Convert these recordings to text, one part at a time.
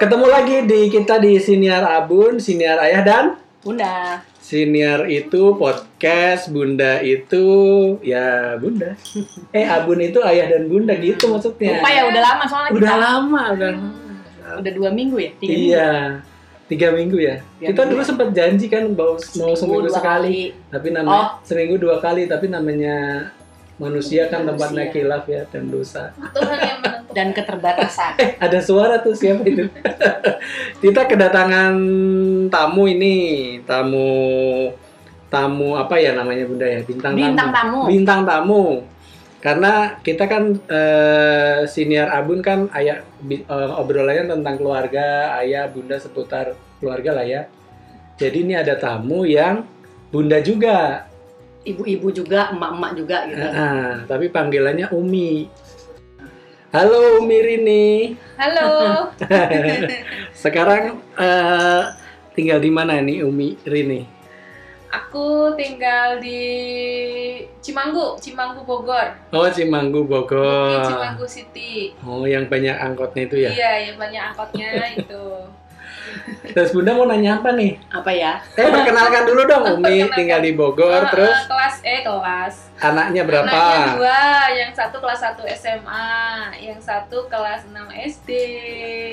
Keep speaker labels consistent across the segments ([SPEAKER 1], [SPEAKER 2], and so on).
[SPEAKER 1] Ketemu lagi di kita di Siniar Abun, Siniar Ayah dan
[SPEAKER 2] Bunda.
[SPEAKER 1] Siniar itu podcast, Bunda itu ya Bunda. Eh Abun itu Ayah dan Bunda gitu maksudnya.
[SPEAKER 2] Lupa ya udah lama soalnya
[SPEAKER 1] Udah
[SPEAKER 2] kita.
[SPEAKER 1] lama udah.
[SPEAKER 2] Udah dua minggu ya? Tiga minggu.
[SPEAKER 1] Iya. Tiga minggu ya.
[SPEAKER 2] Tiga
[SPEAKER 1] kita
[SPEAKER 2] minggu
[SPEAKER 1] dulu
[SPEAKER 2] ya.
[SPEAKER 1] sempat janji kan mau mau seminggu
[SPEAKER 2] dua
[SPEAKER 1] sekali. Tapi namanya
[SPEAKER 2] Oh.
[SPEAKER 1] seminggu dua kali tapi namanya manusia kan tempatnya
[SPEAKER 2] Manusia.
[SPEAKER 1] kilaf ya dan dosa.
[SPEAKER 3] Tuhan yang menentukan.
[SPEAKER 2] Dan keterbatasan.
[SPEAKER 1] Eh, ada suara tuh siapa itu? Kita kedatangan tamu ini, tamu tamu apa ya namanya Bunda ya? Bintang,
[SPEAKER 2] Bintang
[SPEAKER 1] tamu.
[SPEAKER 2] tamu.
[SPEAKER 1] Bintang tamu. Karena kita kan eh, senior Abun kan ayah bi- eh, obrolannya tentang keluarga, ayah, Bunda seputar keluarga lah ya. Jadi ini ada tamu yang Bunda juga,
[SPEAKER 2] Ibu-ibu juga, emak-emak juga gitu.
[SPEAKER 1] Eh, eh, tapi panggilannya Umi. Halo Umi Rini.
[SPEAKER 3] Halo.
[SPEAKER 1] Sekarang eh, tinggal di mana nih Umi Rini?
[SPEAKER 3] Aku tinggal di Cimanggu, Cimanggu Bogor.
[SPEAKER 1] Oh Cimanggu
[SPEAKER 3] Di
[SPEAKER 1] Bogor.
[SPEAKER 3] Cimanggu City.
[SPEAKER 1] Oh yang banyak angkotnya itu ya.
[SPEAKER 3] Iya, yang banyak angkotnya itu.
[SPEAKER 1] Terus Bunda mau nanya apa nih?
[SPEAKER 2] Apa ya?
[SPEAKER 1] Eh perkenalkan dulu dong Umi
[SPEAKER 3] Perkenalkan.
[SPEAKER 1] tinggal di Bogor.
[SPEAKER 3] Eh, eh,
[SPEAKER 1] Terus
[SPEAKER 3] kelas eh kelas.
[SPEAKER 1] anaknya berapa?
[SPEAKER 3] Anaknya dua, yang satu kelas 1 SMA, yang satu kelas 6 SD.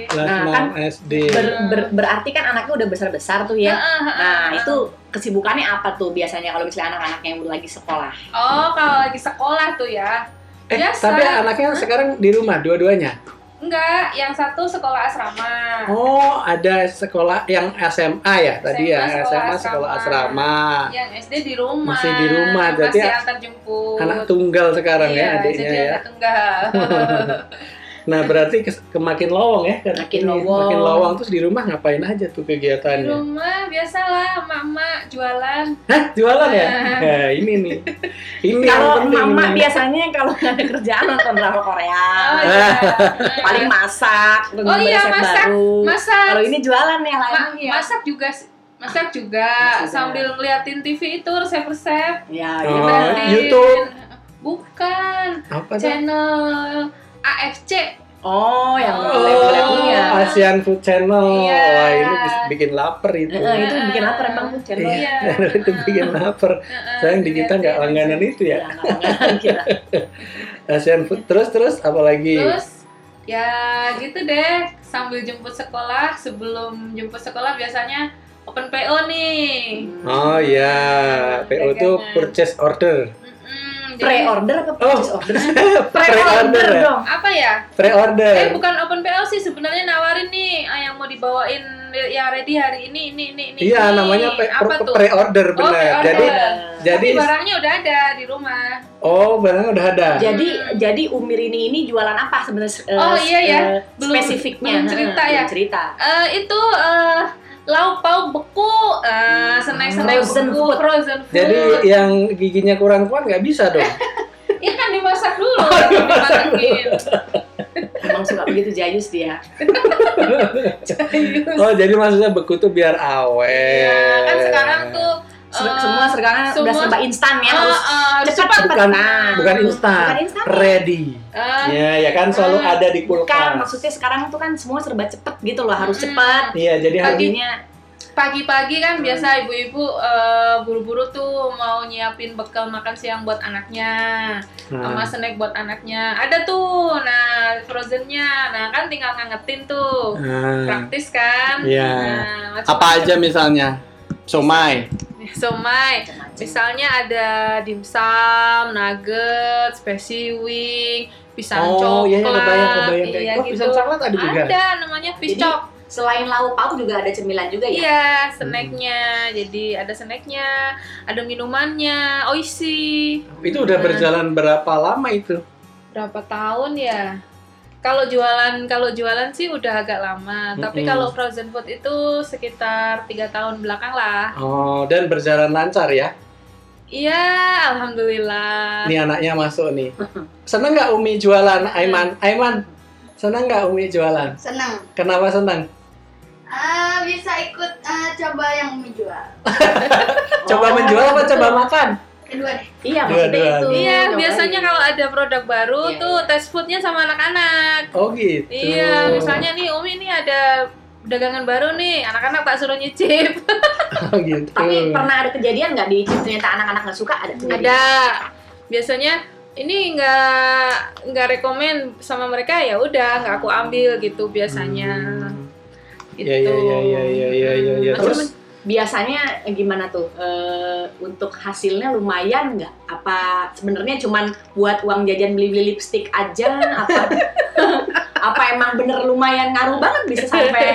[SPEAKER 1] Kelas
[SPEAKER 2] Nah,
[SPEAKER 1] 6
[SPEAKER 2] kan
[SPEAKER 1] SD.
[SPEAKER 2] Ber- ber- berarti kan anaknya udah besar-besar tuh ya.
[SPEAKER 3] Ah, ah, ah,
[SPEAKER 2] Nah,
[SPEAKER 3] ah.
[SPEAKER 2] itu kesibukannya apa tuh biasanya kalau misalnya anak-anak yang udah lagi sekolah?
[SPEAKER 3] Oh, kalau lagi sekolah tuh ya.
[SPEAKER 1] Eh
[SPEAKER 3] biasa.
[SPEAKER 1] tapi anaknya sekarang di rumah dua-duanya.
[SPEAKER 3] Enggak, yang satu sekolah asrama.
[SPEAKER 1] Oh ada sekolah yang SMA ya tadi ya
[SPEAKER 3] SMA, sekolah
[SPEAKER 1] SMA sekolah
[SPEAKER 3] asrama.
[SPEAKER 1] asrama.
[SPEAKER 3] Yang SD di rumah.
[SPEAKER 1] Masih di rumah, berarti
[SPEAKER 3] masih
[SPEAKER 1] a-
[SPEAKER 3] antar jemput.
[SPEAKER 1] Anak tunggal sekarang
[SPEAKER 3] iya,
[SPEAKER 1] ya adiknya
[SPEAKER 3] jadi
[SPEAKER 1] ya.
[SPEAKER 3] anak tunggal.
[SPEAKER 1] Nah berarti kes- kemakin lowong ya kan?
[SPEAKER 2] Makin
[SPEAKER 1] Ini,
[SPEAKER 2] lowong.
[SPEAKER 1] Makin lowong terus di rumah ngapain aja tuh
[SPEAKER 3] di
[SPEAKER 1] kegiatannya?
[SPEAKER 3] rumah biasalah mak-mak jualan.
[SPEAKER 1] Hah jualan ya?
[SPEAKER 3] Ah.
[SPEAKER 1] Nah, ini nih. Ini yang Iya,
[SPEAKER 2] Kalau
[SPEAKER 1] penting.
[SPEAKER 2] mama
[SPEAKER 1] ini.
[SPEAKER 2] biasanya kalau nggak ada kerjaan nonton drama Korea.
[SPEAKER 3] Oh, iya.
[SPEAKER 2] Ah. Paling masak, nunggu
[SPEAKER 3] Oh, iya,
[SPEAKER 2] resep
[SPEAKER 3] masak.
[SPEAKER 2] baru.
[SPEAKER 3] masak.
[SPEAKER 2] Kalau ini jualan ya lain.
[SPEAKER 3] Ma-
[SPEAKER 1] Iya.
[SPEAKER 3] masak juga s- masak juga
[SPEAKER 2] Masak juga.
[SPEAKER 3] sambil ngeliatin TV itu resep-resep.
[SPEAKER 2] Ya,
[SPEAKER 1] ya. Oh,
[SPEAKER 2] gitu.
[SPEAKER 3] Ngeliatin.
[SPEAKER 1] YouTube.
[SPEAKER 3] Bukan
[SPEAKER 1] Apa tuh?
[SPEAKER 3] channel AFC.
[SPEAKER 2] Oh, yang
[SPEAKER 3] Oh.
[SPEAKER 2] level-levelnya.
[SPEAKER 1] Oh, Asian Food Channel.
[SPEAKER 3] Iya.
[SPEAKER 1] Wah, ini bis- bikin lapar itu.
[SPEAKER 2] Eh, eh, itu bikin lapar emang tuh
[SPEAKER 3] Oh,
[SPEAKER 2] channel.
[SPEAKER 1] Iya. itu bikin lapar. Sayang
[SPEAKER 3] Iya,
[SPEAKER 1] di kita nggak langganan itu ya.
[SPEAKER 2] Ya, nggak nggak kira.
[SPEAKER 1] Asian Food. Terus terus apa lagi?
[SPEAKER 3] Terus ya gitu deh sambil jemput sekolah sebelum jemput sekolah biasanya open PO nih.
[SPEAKER 1] Oh iya, PO itu
[SPEAKER 3] Dagangan.
[SPEAKER 1] purchase order.
[SPEAKER 3] Mm-mm, jadi-
[SPEAKER 2] Pre-order apa purchase order?
[SPEAKER 1] Pre-order ya?
[SPEAKER 2] dong.
[SPEAKER 3] apa ya?
[SPEAKER 1] Pre-order.
[SPEAKER 3] Eh bukan open PO sih sebenarnya nawarin nih ah, yang mau dibawain ya ready hari ini ini ini ini.
[SPEAKER 1] Iya,
[SPEAKER 3] ini.
[SPEAKER 1] namanya pre-
[SPEAKER 3] apa tuh?
[SPEAKER 1] pre-order benar.
[SPEAKER 3] Oh, pre-order.
[SPEAKER 1] Jadi
[SPEAKER 2] Iya.
[SPEAKER 1] jadi
[SPEAKER 3] Tapi barangnya udah ada di rumah.
[SPEAKER 1] Oh, barangnya udah ada.
[SPEAKER 2] Jadi jadi Umir ini ini jualan apa sebenarnya? eh,
[SPEAKER 3] Oh, iya, ya.
[SPEAKER 2] eh,
[SPEAKER 3] Belum-
[SPEAKER 2] spesifiknya.
[SPEAKER 3] belum cerita
[SPEAKER 2] Belum
[SPEAKER 3] ya.
[SPEAKER 2] cerita.
[SPEAKER 3] Eh itu eh lauk pauk beku, eh senai-senai
[SPEAKER 2] Frozen
[SPEAKER 3] beku,
[SPEAKER 2] food.
[SPEAKER 3] frozen food.
[SPEAKER 1] Jadi iya. yang giginya kurang kuat nggak bisa dong.
[SPEAKER 3] Iya kan dimasak dulu, baru dimasukin.
[SPEAKER 2] Emang suka begitu jayus dia.
[SPEAKER 1] Oh jadi maksudnya beku tuh biar awet.
[SPEAKER 3] Iya,
[SPEAKER 1] Eh,
[SPEAKER 3] kan sekarang tuh
[SPEAKER 2] Ser-
[SPEAKER 3] eh,
[SPEAKER 2] semua sekarang udah
[SPEAKER 3] semua-
[SPEAKER 2] serba instan ya,
[SPEAKER 3] eh,
[SPEAKER 2] harus
[SPEAKER 3] eh, harus
[SPEAKER 2] cepat
[SPEAKER 3] cepat.
[SPEAKER 1] bukan
[SPEAKER 2] Nah.
[SPEAKER 1] bukan instan,
[SPEAKER 2] Bukan instan. ya.
[SPEAKER 1] ready.
[SPEAKER 3] Eh,
[SPEAKER 1] Ya ya kan selalu
[SPEAKER 3] ya? Ah.
[SPEAKER 1] ada di
[SPEAKER 2] Bukan,
[SPEAKER 1] kulkas.
[SPEAKER 2] maksudnya sekarang tuh kan semua serba cepet gitu loh, harus
[SPEAKER 3] Mm.
[SPEAKER 2] cepat.
[SPEAKER 1] Iya jadi harus
[SPEAKER 3] Pagi-
[SPEAKER 2] Jadinya
[SPEAKER 3] pagi-pagi kan
[SPEAKER 2] Hmm.
[SPEAKER 3] biasa ibu-ibu eh, buru-buru tuh mau nyiapin bekal makan siang buat anaknya sama
[SPEAKER 1] nah,
[SPEAKER 3] snack buat anaknya ada tuh nah frozennya nah kan tinggal ngangetin tuh
[SPEAKER 1] nah.
[SPEAKER 3] praktis kan
[SPEAKER 1] Iya.
[SPEAKER 3] Nah, macam-
[SPEAKER 1] apa aja misalnya somai.
[SPEAKER 3] somai
[SPEAKER 2] macam-macam.
[SPEAKER 3] misalnya ada dimsum nuggets spicy wing pisang
[SPEAKER 1] Oh
[SPEAKER 3] coklat
[SPEAKER 1] iya ya, kebayang kebayang
[SPEAKER 3] iya
[SPEAKER 1] kayak oh,
[SPEAKER 3] gitu
[SPEAKER 1] pisang coklat ada juga.
[SPEAKER 3] ada namanya fish
[SPEAKER 2] Jadi,
[SPEAKER 3] chop
[SPEAKER 2] Selain lauk pauk juga ada cemilan juga ya.
[SPEAKER 1] Hmm.
[SPEAKER 3] Iya, snacknya. Jadi ada snacknya, ada minumannya, oishi.
[SPEAKER 1] Itu udah berjalan berapa lama itu?
[SPEAKER 3] Berapa tahun ya? Kalau jualan, kalau jualan sih udah agak lama. Tapi
[SPEAKER 1] Mm-mm.
[SPEAKER 3] kalau frozen food itu sekitar tiga tahun belakang lah.
[SPEAKER 1] Oh dan berjalan lancar ya.
[SPEAKER 3] Iya, alhamdulillah.
[SPEAKER 1] Ini anaknya masuk nih. Seneng nggak Umi jualan Aiman? Aiman seneng nggak Umi jualan?
[SPEAKER 4] Senang.
[SPEAKER 1] Kenapa seneng?
[SPEAKER 4] Ah, bisa ikut ah, coba yang menjual.
[SPEAKER 1] Coba
[SPEAKER 2] Oh.
[SPEAKER 1] menjual apa coba makan?
[SPEAKER 4] kedua deh
[SPEAKER 2] Iya maksudnya
[SPEAKER 1] Dua-dua.
[SPEAKER 2] itu.
[SPEAKER 3] Iya,
[SPEAKER 2] Makanya.
[SPEAKER 3] biasanya kalau ada produk baru
[SPEAKER 2] Iya,
[SPEAKER 3] tuh test foodnya sama anak-anak.
[SPEAKER 1] Oh gitu.
[SPEAKER 3] Iya, misalnya nih Umi ini ada dagangan baru nih, anak-anak tak suruh nyicip.
[SPEAKER 1] Oh gitu.
[SPEAKER 2] Tapi pernah ada kejadian nggak di ternyata anak-anak nggak suka ada kejadian?
[SPEAKER 3] ada. Biasanya ini nggak nggak rekomen sama mereka ya udah nggak aku ambil gitu biasanya.
[SPEAKER 1] Hmm.
[SPEAKER 3] Gitu.
[SPEAKER 1] Iya, iya, iya, iya, iya, iya, iya, iya.
[SPEAKER 3] Hmm.
[SPEAKER 1] Terus?
[SPEAKER 2] Biasanya gimana tuh Eh, untuk hasilnya lumayan nggak? Apa sebenarnya cuman buat uang jajan beli-beli lipstick aja? Apa apa emang bener lumayan ngaruh banget bisa sampai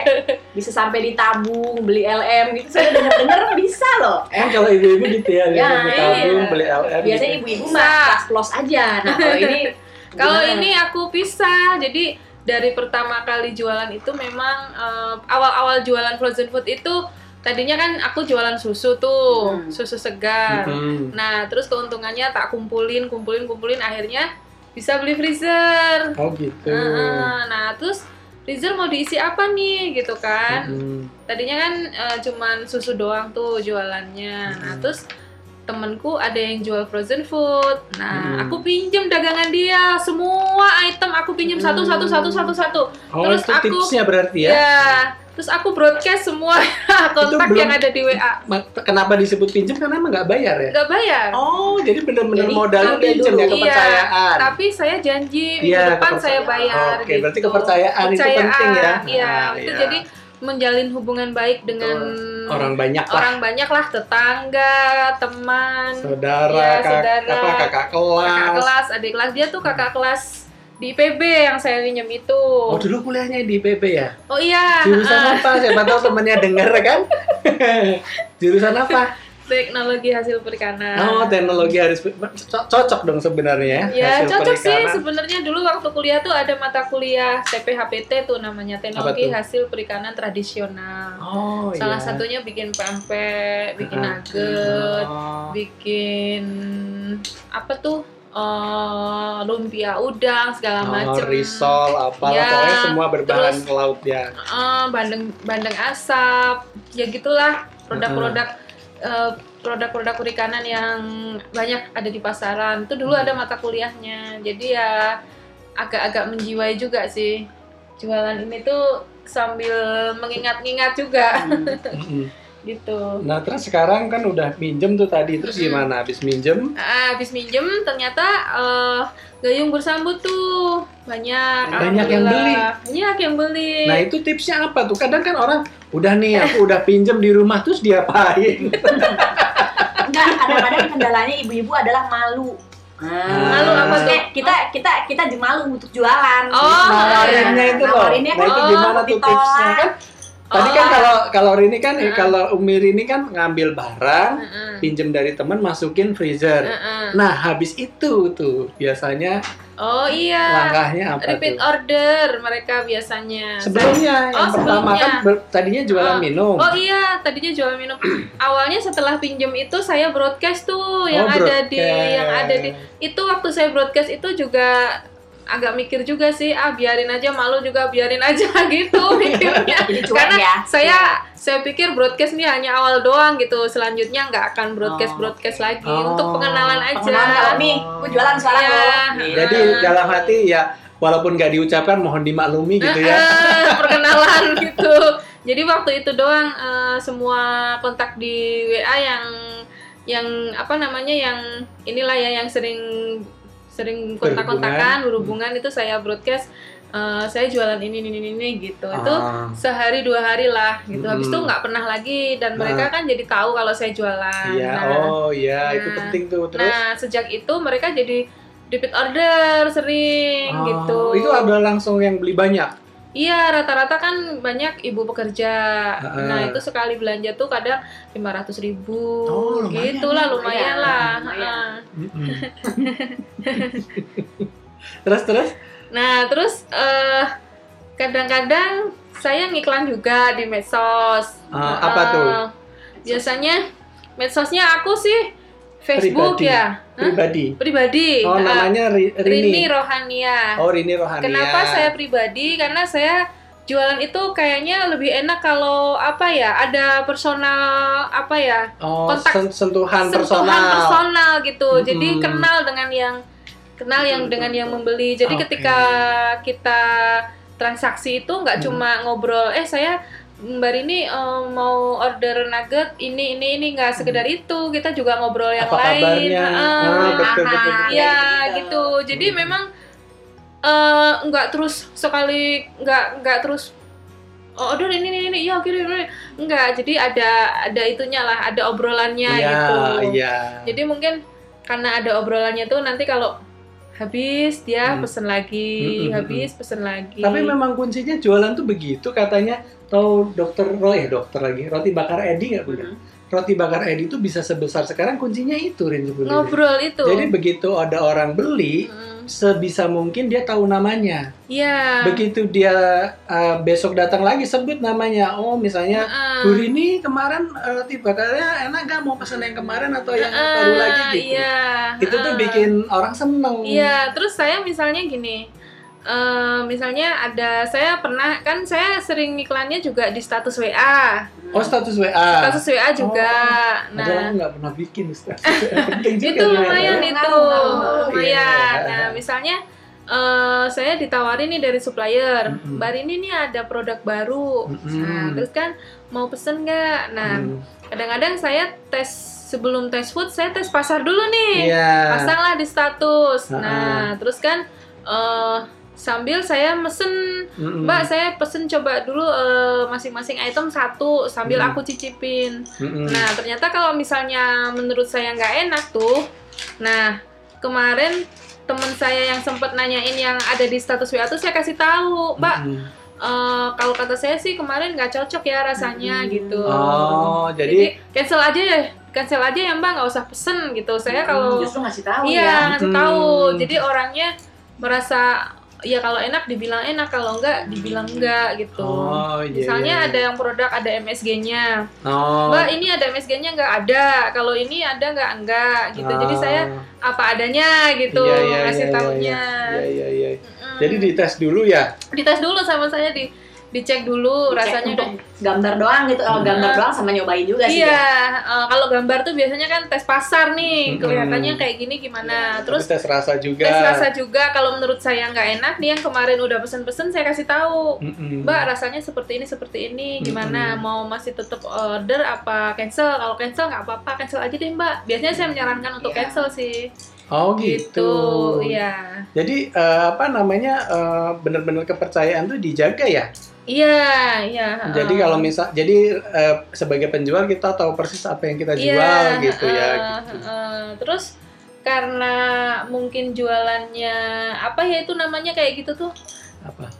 [SPEAKER 2] bisa sampai ditabung beli LM gitu? Saya denger-denger bisa loh.
[SPEAKER 1] Emang kalau ibu-ibu gitu ya,
[SPEAKER 2] Ya,
[SPEAKER 1] ibu tabung,
[SPEAKER 3] iya.
[SPEAKER 1] beli LM.
[SPEAKER 2] Biasanya
[SPEAKER 1] gitu.
[SPEAKER 2] ibu-ibu
[SPEAKER 3] Bisa.
[SPEAKER 2] mah pas plus aja. Nah kalau ini
[SPEAKER 3] Kalau
[SPEAKER 2] gimana?
[SPEAKER 3] ini aku pisah, jadi dari pertama kali jualan itu memang eh, awal-awal jualan frozen food itu tadinya kan aku jualan susu tuh,
[SPEAKER 2] Hmm.
[SPEAKER 3] susu segar.
[SPEAKER 1] Mm-mm.
[SPEAKER 3] Nah terus keuntungannya tak kumpulin, kumpulin, kumpulin, akhnya bisa beli freezer.
[SPEAKER 1] Oh gitu.
[SPEAKER 3] Heeh. Nah terus freezer mau diisi apa nih gitu kan?
[SPEAKER 1] Mm-mm.
[SPEAKER 3] tadinya kan eh, cuman susu doang tuh jualannya nah
[SPEAKER 1] Mhm.
[SPEAKER 3] terus temenku ada yang jual frozen food nah
[SPEAKER 1] Mhm.
[SPEAKER 3] aku pinjem dagangan dia semua item aku pinjem satu satu satu satu satu
[SPEAKER 1] Oh,
[SPEAKER 3] Terus
[SPEAKER 1] itu
[SPEAKER 3] aku-
[SPEAKER 1] tipsnya berarti
[SPEAKER 3] ya
[SPEAKER 1] ya?
[SPEAKER 3] terus aku broadcast semua kontak
[SPEAKER 1] belum-
[SPEAKER 3] yang ada di wa
[SPEAKER 1] Ma- Kenapa disebut pinjam? Karena emang nggak bayar ya?
[SPEAKER 3] nggak bayar
[SPEAKER 1] Oh, jadi benar-benar
[SPEAKER 2] Jadi
[SPEAKER 1] modalnya
[SPEAKER 2] ambil
[SPEAKER 1] pinjam
[SPEAKER 2] dulu.
[SPEAKER 1] ya
[SPEAKER 2] Iya,
[SPEAKER 1] kepercayaan.
[SPEAKER 3] tapi saya janji minggu
[SPEAKER 1] Iya,
[SPEAKER 3] depan saya
[SPEAKER 2] kepercayaan.
[SPEAKER 3] bayar
[SPEAKER 1] Oke, berarti
[SPEAKER 3] gitu.
[SPEAKER 1] kepercayaan itu penting ya.
[SPEAKER 3] iya
[SPEAKER 1] Nah,
[SPEAKER 3] itu
[SPEAKER 1] iya.
[SPEAKER 3] jadi menjalin hubungan baik dengan
[SPEAKER 1] Orang banyak lah.
[SPEAKER 3] orang banyak lah tetangga teman
[SPEAKER 1] Saudara,
[SPEAKER 3] Iya,
[SPEAKER 1] kak-
[SPEAKER 3] saudara.
[SPEAKER 1] apa kakak kelas.
[SPEAKER 3] kakak kelas adik kelas dia tuh
[SPEAKER 1] Hmm.
[SPEAKER 3] kakak kelas di IPB yang saya pinjam itu
[SPEAKER 1] Oh,
[SPEAKER 3] oh,
[SPEAKER 1] dulu kuliahnya di PP ya?
[SPEAKER 3] iya
[SPEAKER 1] Jurusan
[SPEAKER 3] eh,
[SPEAKER 1] apa? Siapa tahu temennya dengar kan? Jurusan apa?
[SPEAKER 3] teknologi hasil perikanan
[SPEAKER 1] Oh, teknologi harus co- cocok dong sebenarnya
[SPEAKER 3] ya
[SPEAKER 1] hasil
[SPEAKER 3] cocok sih
[SPEAKER 1] perikanan.
[SPEAKER 3] sebenarnya dulu waktu kuliah tuh ada mata kuliah TPHPT tuh namanya teknologi
[SPEAKER 1] tuh?
[SPEAKER 3] hasil perikanan tradisional
[SPEAKER 1] Oh,
[SPEAKER 3] salah
[SPEAKER 1] iya.
[SPEAKER 3] satunya bikin pempek bikin
[SPEAKER 1] Ah.
[SPEAKER 3] nugget
[SPEAKER 1] Oh.
[SPEAKER 3] bikin apa tuh eh, lumpia udang segala
[SPEAKER 1] Oh,
[SPEAKER 3] macem
[SPEAKER 1] risol, apa,
[SPEAKER 3] Ya,
[SPEAKER 1] pokoknya semua berbahan
[SPEAKER 3] terus-
[SPEAKER 1] laut ya.
[SPEAKER 3] Eh, bandeng bandeng asap ya gitulah produk-produk eh, produk-produk perikanan yang banyak ada di pasaran itu dulu
[SPEAKER 1] Hmm.
[SPEAKER 3] ada mata kuliahnya jadi ya agak-agak menjiwai juga sih jualan ini tuh sambil mengingat-ingat juga
[SPEAKER 1] Hmm. Mm-mm.
[SPEAKER 3] gitu
[SPEAKER 1] Nah, terus sekarang kan udah minjem tuh tadi, terus
[SPEAKER 3] Mm-mm.
[SPEAKER 1] gimana? Habis minjem,
[SPEAKER 3] Ah, habis minjem ternyata eh, gayung bersambut tuh banyak
[SPEAKER 1] Banyak yang beli.
[SPEAKER 3] alhamdulillah. banyak yang beli
[SPEAKER 1] nah itu tipsnya apa tuh? Kadang kan orang, udah nih aku udah pinjem di rumah, terus diapain?
[SPEAKER 2] Enggak, kadang-kadang kendalanya ibu-ibu adalah malu.
[SPEAKER 3] Ah.
[SPEAKER 1] Malu apa
[SPEAKER 2] Maksudnya kita kita kita j- malu untuk jualan. Gitu.
[SPEAKER 3] Oh,
[SPEAKER 1] Nawarinnya
[SPEAKER 2] Nawarinnya
[SPEAKER 1] itu loh.
[SPEAKER 2] Nawarinnya
[SPEAKER 1] Nah,
[SPEAKER 2] kan
[SPEAKER 1] itu
[SPEAKER 3] oh,
[SPEAKER 1] gimana tuh
[SPEAKER 2] ditolak.
[SPEAKER 1] tipsnya kan? Tadi kan
[SPEAKER 3] Oh. Hmm.
[SPEAKER 1] kalau kalau ini kan eh,
[SPEAKER 3] Mm-mm.
[SPEAKER 1] kalau Umi ini kan ngambil barang,
[SPEAKER 3] Heeh.
[SPEAKER 1] pinjem dari teman masukin freezer.
[SPEAKER 3] Heeh.
[SPEAKER 1] Nah, habis itu tuh biasanya
[SPEAKER 3] oh iya
[SPEAKER 1] langkahnya apa
[SPEAKER 3] repeat
[SPEAKER 1] tuh?
[SPEAKER 3] order mereka biasanya.
[SPEAKER 1] Sebelumnya yang
[SPEAKER 3] Oh,
[SPEAKER 1] pertama
[SPEAKER 3] sebelumnya.
[SPEAKER 1] kan ber- tadinya jualan
[SPEAKER 3] Oh.
[SPEAKER 1] minum.
[SPEAKER 3] Oh iya, tadinya jual minum. Awalnya setelah pinjem itu saya broadcast tuh
[SPEAKER 1] Oh,
[SPEAKER 3] yang ada di
[SPEAKER 1] broadcast.
[SPEAKER 3] yang ada di itu waktu saya broadcast itu juga agak mikir juga sih, ah biarin aja malu juga biarin aja gitu
[SPEAKER 1] Oh, iya.
[SPEAKER 3] mikirnya.
[SPEAKER 2] Jadi cuek
[SPEAKER 3] Karena
[SPEAKER 2] ya.
[SPEAKER 3] Saya saya pikir broadcast ini hanya awal doang gitu, selanjutnya nggak akan broadcast broadcast lagi
[SPEAKER 1] Oh.
[SPEAKER 3] untuk pengenalan aja.
[SPEAKER 2] pengenalan kalau nih, gue jualan sekarang
[SPEAKER 3] Iya.
[SPEAKER 2] loh. Gitu.
[SPEAKER 1] Jadi dalam hati ya walaupun nggak diucapkan mohon dimaklumi gitu ya.
[SPEAKER 3] Eh, perkenalan gitu. Jadi waktu itu doang eh, semua kontak di WA yang yang apa namanya yang inilah ya yang sering sering kontak-kontakan berhubungan itu saya broadcast eh, saya jualan ini ini ini, ini gitu. Itu
[SPEAKER 1] Ah.
[SPEAKER 3] sehari dua hari lah gitu. Habis itu
[SPEAKER 1] Hmm.
[SPEAKER 3] nggak pernah lagi dan mereka kan jadi tahu kalau saya
[SPEAKER 1] Ah.
[SPEAKER 3] jualan.
[SPEAKER 1] Iya,
[SPEAKER 3] Nah,
[SPEAKER 1] oh iya, itu
[SPEAKER 3] Nah.
[SPEAKER 1] penting tuh terus.
[SPEAKER 3] nah, sejak itu mereka jadi repeat order sering
[SPEAKER 1] Oh,
[SPEAKER 3] gitu.
[SPEAKER 1] Itu ada langsung yang beli banyak.
[SPEAKER 3] Iya, rata-rata kan banyak ibu pekerja.
[SPEAKER 1] Heeh.
[SPEAKER 3] Nah, itu sekali belanja tuh kadang 500 ribu.
[SPEAKER 1] Oh, lumayan.
[SPEAKER 3] gitu lah,
[SPEAKER 2] Lumayan,
[SPEAKER 3] lumayan lah.
[SPEAKER 2] lumayan.
[SPEAKER 3] Heeh.
[SPEAKER 1] Mm-mm. terus terus?
[SPEAKER 3] Nah, terus eh, kadang-kadang saya ngiklan juga di medsos.
[SPEAKER 1] Ah, apa tuh?
[SPEAKER 3] Eh, Biasanya medsosnya aku sih Facebook
[SPEAKER 1] Pribadi.
[SPEAKER 3] ya. Hah?
[SPEAKER 1] Pribadi.
[SPEAKER 3] Pribadi.
[SPEAKER 1] Oh,
[SPEAKER 3] Eh,
[SPEAKER 1] namanya Ri- Rini.
[SPEAKER 3] Rini Rohania.
[SPEAKER 1] Oh, Rini Rohania.
[SPEAKER 3] Kenapa saya pribadi? Karena saya jualan itu kayaknya lebih enak kalau apa ya ada personal apa ya
[SPEAKER 1] Oh,
[SPEAKER 3] Kontak-
[SPEAKER 1] sen- sentuhan,
[SPEAKER 3] sentuhan
[SPEAKER 1] personal.
[SPEAKER 3] personal gitu. Jadi
[SPEAKER 1] Mm-mm.
[SPEAKER 3] kenal dengan yang kenal
[SPEAKER 2] Betul,
[SPEAKER 3] yang
[SPEAKER 2] betul,
[SPEAKER 3] dengan yang
[SPEAKER 2] betul.
[SPEAKER 3] membeli. Jadi
[SPEAKER 1] Oke.
[SPEAKER 3] ketika kita transaksi itu nggak
[SPEAKER 1] Hmm.
[SPEAKER 3] cuma ngobrol, eh saya Mbak ini mau order nugget ini ini ini nggak sekedar itu kita juga ngobrol yang
[SPEAKER 1] Apa
[SPEAKER 3] lain.
[SPEAKER 1] kabarnya?
[SPEAKER 3] Heeh.
[SPEAKER 1] Ah, betul, betul, betul.
[SPEAKER 3] Iya gitu. Jadi
[SPEAKER 1] Hmm.
[SPEAKER 3] memang eh, nggak terus sekali nggak nggak terus oh order ini ini ini ya oke oke, oke." nggak. Jadi ada ada itunya lah, ada obrolannya
[SPEAKER 1] Iya,
[SPEAKER 3] gitu.
[SPEAKER 1] iya.
[SPEAKER 3] Jadi mungkin karena ada obrolannya tuh nanti kalau habis dia
[SPEAKER 1] Hmm.
[SPEAKER 3] pesen lagi,
[SPEAKER 1] Hmm, hmm, hmm,
[SPEAKER 3] habis pesen lagi.
[SPEAKER 1] Tapi memang kuncinya jualan tuh begitu katanya. Tahu dokter Roy, eh, dokter lagi, roti bakar Edi nggak punya? Roti bakar Edi tuh bisa sebesar sekarang kuncinya itu, Rin. sebenarnya.
[SPEAKER 3] ngobrol itu.
[SPEAKER 1] Jadi begitu ada orang beli,
[SPEAKER 3] Mm,
[SPEAKER 1] sebisa mungkin dia tahu namanya.
[SPEAKER 3] Iya.
[SPEAKER 1] Begitu dia uh, besok datang lagi sebut namanya. Oh, misalnya
[SPEAKER 3] Heeh.
[SPEAKER 1] Bu Rini kemarin uh, roti bakarnya enak gak mau pesan yang kemarin atau yang
[SPEAKER 3] Heeh,
[SPEAKER 1] baru lagi gitu.
[SPEAKER 3] Iya.
[SPEAKER 1] Itu tuh
[SPEAKER 3] heeh.
[SPEAKER 1] bikin orang seneng.
[SPEAKER 3] Iya, terus saya misalnya gini. eh, misalnya ada saya pernah kan saya sering iklannya juga di status WA.
[SPEAKER 1] Oh, status WA.
[SPEAKER 3] Status WA juga.
[SPEAKER 1] Nah. Padahal aku nggak pernah bikin status WA. Penting juga
[SPEAKER 3] itu
[SPEAKER 1] ya.
[SPEAKER 2] Ngaruh,
[SPEAKER 3] lumayan itu
[SPEAKER 2] ngaruh.
[SPEAKER 3] lumayan
[SPEAKER 1] Iya.
[SPEAKER 3] nah misalnya eh, saya ditawarin nih dari supplier
[SPEAKER 1] Mm-mm.
[SPEAKER 3] mbak Rini nih ada produk baru
[SPEAKER 1] Mm-mm.
[SPEAKER 3] nah terus kan mau pesen nggak nah
[SPEAKER 1] Hmm.
[SPEAKER 3] kadang-kadang saya tes sebelum tes food saya tes pasar dulu nih
[SPEAKER 1] Iya.
[SPEAKER 3] pasanglah di status
[SPEAKER 1] Ha-ha.
[SPEAKER 3] nah terus kan eh, sambil saya mesen
[SPEAKER 1] Mm-mm.
[SPEAKER 3] mbak saya pesen coba dulu eh, masing-masing item satu sambil
[SPEAKER 1] Mm.
[SPEAKER 3] aku cicipin
[SPEAKER 1] Mm-mm.
[SPEAKER 3] Nah, ternyata kalau misalnya menurut saya nggak enak tuh, nah kemarin temen saya yang sempat nanyain yang ada di status WA tuh saya kasih tahu, Mbak,
[SPEAKER 1] Mm-mm.
[SPEAKER 3] eh, kalau kata saya sih kemarin nggak cocok ya rasanya
[SPEAKER 2] Hmm.
[SPEAKER 3] gitu.
[SPEAKER 1] Oh, jadi
[SPEAKER 3] Jadi cancel aja ya, cancel aja ya Mbak, nggak usah pesen gitu. Saya kalau
[SPEAKER 2] justru ngasih tahu ya.
[SPEAKER 3] iya ngasih
[SPEAKER 1] Hmm.
[SPEAKER 3] tahu, jadi orangnya merasa ya kalau enak dibilang enak, kalau enggak dibilang enggak gitu.
[SPEAKER 1] Hmm. Oh, iya, iya.
[SPEAKER 3] Misalnya ada yang produk ada MSG-nya.
[SPEAKER 1] Oh.
[SPEAKER 3] Mbak iya, ini ada MSG-nya nggak ada, kalau ini ada nggak enggak gitu. Jadi saya
[SPEAKER 1] Ah.
[SPEAKER 3] apa adanya gitu
[SPEAKER 1] Iya, iya,
[SPEAKER 3] ngasih
[SPEAKER 1] iya,
[SPEAKER 3] taunya. Hmm.
[SPEAKER 1] Iya, iya, iya.
[SPEAKER 3] Mm-mm.
[SPEAKER 1] Jadi dites dulu ya.
[SPEAKER 3] dites dulu sama saya di dicek dulu
[SPEAKER 2] Dicek
[SPEAKER 3] rasanya
[SPEAKER 2] untuk
[SPEAKER 3] udah.
[SPEAKER 2] gambar doang gitu. Oh, gambar doang sama nyobain juga sih.
[SPEAKER 3] Iya, eh, kalau gambar tuh biasanya kan tes pasar nih,
[SPEAKER 1] Mm-mm.
[SPEAKER 3] kelihatannya kayak gini
[SPEAKER 2] Iya,
[SPEAKER 3] gimana. Nah, Terus
[SPEAKER 1] Terus tes rasa juga.
[SPEAKER 3] tes rasa juga kalau menurut saya nggak enak, dia yang kemarin udah pesen-pesen saya kasih tahu.
[SPEAKER 1] Mm-mm.
[SPEAKER 3] Mbak rasanya seperti ini seperti ini gimana
[SPEAKER 1] Mm-mm.
[SPEAKER 3] mau masih tetap order apa cancel kalau cancel nggak apa-apa cancel aja deh Mbak biasanya saya menyarankan untuk
[SPEAKER 2] Iya.
[SPEAKER 3] cancel sih
[SPEAKER 1] Oh gitu.
[SPEAKER 3] gitu iya
[SPEAKER 1] Jadi eh, apa namanya eh, benar-benar kepercayaan tuh dijaga ya.
[SPEAKER 3] iya iya
[SPEAKER 1] Jadi kalau misal, jadi eh, sebagai penjual kita tahu persis apa yang
[SPEAKER 3] Iya.
[SPEAKER 1] kita jual gitu ya.
[SPEAKER 3] Ah,
[SPEAKER 1] Gitu.
[SPEAKER 3] terus karena mungkin jualannya apa ya itu namanya kayak gitu tuh
[SPEAKER 1] Apa?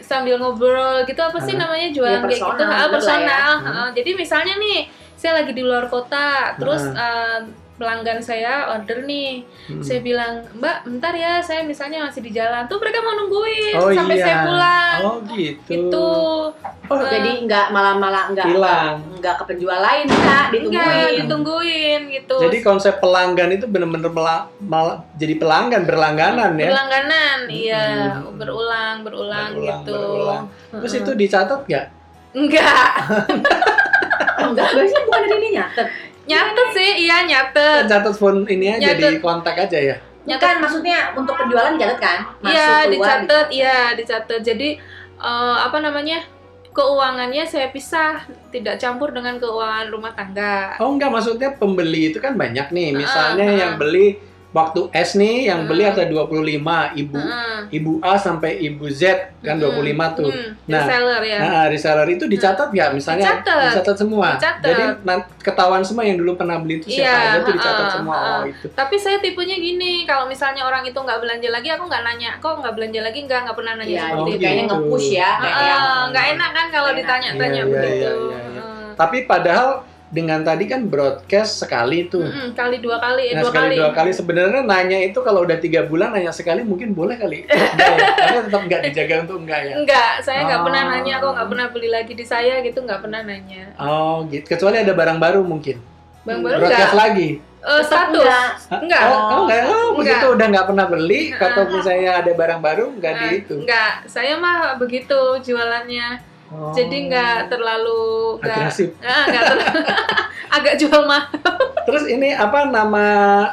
[SPEAKER 3] sambil ngobrol gitu apa sih
[SPEAKER 1] Ah.
[SPEAKER 3] namanya
[SPEAKER 2] Ya,
[SPEAKER 3] jualan kayak
[SPEAKER 2] personal
[SPEAKER 3] gitu ah,
[SPEAKER 2] gitu lah
[SPEAKER 3] personal
[SPEAKER 1] ya.
[SPEAKER 3] Ah, jadi misalnya nih saya lagi di luar kota terus eh, pelanggan saya order nih
[SPEAKER 1] Mm.
[SPEAKER 3] saya bilang mbak bentar ya saya misalnya masih di jalan tuh mereka mau nungguin
[SPEAKER 1] Oh,
[SPEAKER 3] sampai
[SPEAKER 1] iya.
[SPEAKER 3] saya pulang
[SPEAKER 1] Oh gitu.
[SPEAKER 3] gitu
[SPEAKER 1] Oh,
[SPEAKER 3] Eh,
[SPEAKER 2] Jadi nggak malah-malah nggak
[SPEAKER 1] Hilang.
[SPEAKER 2] nggak ke penjual lain nggak
[SPEAKER 3] enggak
[SPEAKER 2] ditungguin.
[SPEAKER 3] ditungguin gitu
[SPEAKER 1] Jadi konsep pelanggan itu benar-benar mela- malah jadi pelanggan berlangganan ya.
[SPEAKER 3] berlangganan iya
[SPEAKER 1] Mm-mm.
[SPEAKER 3] berulang berulang,
[SPEAKER 1] Berulang,
[SPEAKER 3] gitu
[SPEAKER 1] berulang. Terus itu dicatat nggak?
[SPEAKER 3] enggak
[SPEAKER 2] Oh, Enggak, biasanya bukan dari ini nyatet.
[SPEAKER 3] nyatet sih iya nyatet
[SPEAKER 1] Eh, Catat phone ini aja
[SPEAKER 3] Nyatet.
[SPEAKER 1] di kontak aja ya.
[SPEAKER 2] Nyatet kan maksudnya untuk penjualan dicatat kan? Masuk,
[SPEAKER 3] iya
[SPEAKER 2] keluar,
[SPEAKER 3] dicatat
[SPEAKER 1] gitu.
[SPEAKER 3] iya dicatat jadi eh, apa namanya keuangannya saya pisah tidak campur dengan keuangan rumah tangga
[SPEAKER 1] Oh enggak, maksudnya pembeli itu kan banyak nih. Misalnya
[SPEAKER 3] Heeh,
[SPEAKER 1] yang beli waktu S nih, yang beli
[SPEAKER 3] Heeh.
[SPEAKER 1] ada 25 ibu
[SPEAKER 3] Heeh.
[SPEAKER 1] ibu A sampai ibu Z kan
[SPEAKER 3] Mm-mm.
[SPEAKER 1] 25 tuh.
[SPEAKER 3] Mm,
[SPEAKER 1] Nah,
[SPEAKER 3] reseller ya
[SPEAKER 1] Nah, reseller itu dicatat nggak misalnya? ya?
[SPEAKER 3] Dicatat.
[SPEAKER 1] semua.
[SPEAKER 3] Dicatat.
[SPEAKER 1] Jadi nan- ketahuan semua yang dulu pernah beli itu siapa
[SPEAKER 3] Iya,
[SPEAKER 1] aja tuh dicatat
[SPEAKER 3] heeh,
[SPEAKER 1] semua. Oh, itu.
[SPEAKER 3] Tapi saya tipenya gini, kalau misalnya orang itu nggak belanja lagi, aku nggak nanya, kok nggak belanja lagi, nggak nggak pernah nanya
[SPEAKER 2] Iya,
[SPEAKER 1] Oh,
[SPEAKER 3] seperti
[SPEAKER 2] jadi
[SPEAKER 3] itu.
[SPEAKER 2] kayaknya
[SPEAKER 1] gitu.
[SPEAKER 2] nge-push ya. kayak
[SPEAKER 3] Nah, Heeh,
[SPEAKER 2] yang-
[SPEAKER 3] nggak enak kan kalau
[SPEAKER 2] Enak.
[SPEAKER 3] ditanya-tanya
[SPEAKER 1] Iya, iya,
[SPEAKER 3] begitu.
[SPEAKER 1] iya, iya, iya. Tapi padahal dengan tadi kan broadcast sekali
[SPEAKER 3] Heeh.
[SPEAKER 1] tuh.
[SPEAKER 3] Mm-mm, kali dua kali, eh,
[SPEAKER 1] Nah,
[SPEAKER 3] dua
[SPEAKER 1] sekali
[SPEAKER 3] kali.
[SPEAKER 1] dua kali sebenarnya nanya itu kalau udah tiga bulan nanya sekali mungkin boleh kali. Enggak ya? Karena tetap nggak dijaga untuk enggak ya.
[SPEAKER 3] Enggak, saya nggak pernah
[SPEAKER 1] Ah.
[SPEAKER 3] nanya, kok nggak pernah beli lagi di saya gitu, nggak pernah nanya.
[SPEAKER 1] Oh gitu. Kecuali ada barang baru mungkin.
[SPEAKER 3] Bang
[SPEAKER 2] Hmm,
[SPEAKER 3] baru nggak,
[SPEAKER 1] Broadcast lagi.
[SPEAKER 3] eh,
[SPEAKER 2] Tetap
[SPEAKER 3] status
[SPEAKER 2] enggak.
[SPEAKER 3] enggak
[SPEAKER 1] Oh, oh, enggak. Oh,
[SPEAKER 3] Enggak.
[SPEAKER 1] begitu udah nggak pernah beli atau misalnya ada barang baru nggak di
[SPEAKER 3] Nah,
[SPEAKER 1] itu.
[SPEAKER 3] enggak saya mah begitu jualannya
[SPEAKER 1] Oh.
[SPEAKER 3] jadi enggak terlalu enggak
[SPEAKER 1] agresif.
[SPEAKER 3] Ah, enggak terlalu- agak jual mahal
[SPEAKER 1] Terus ini apa nama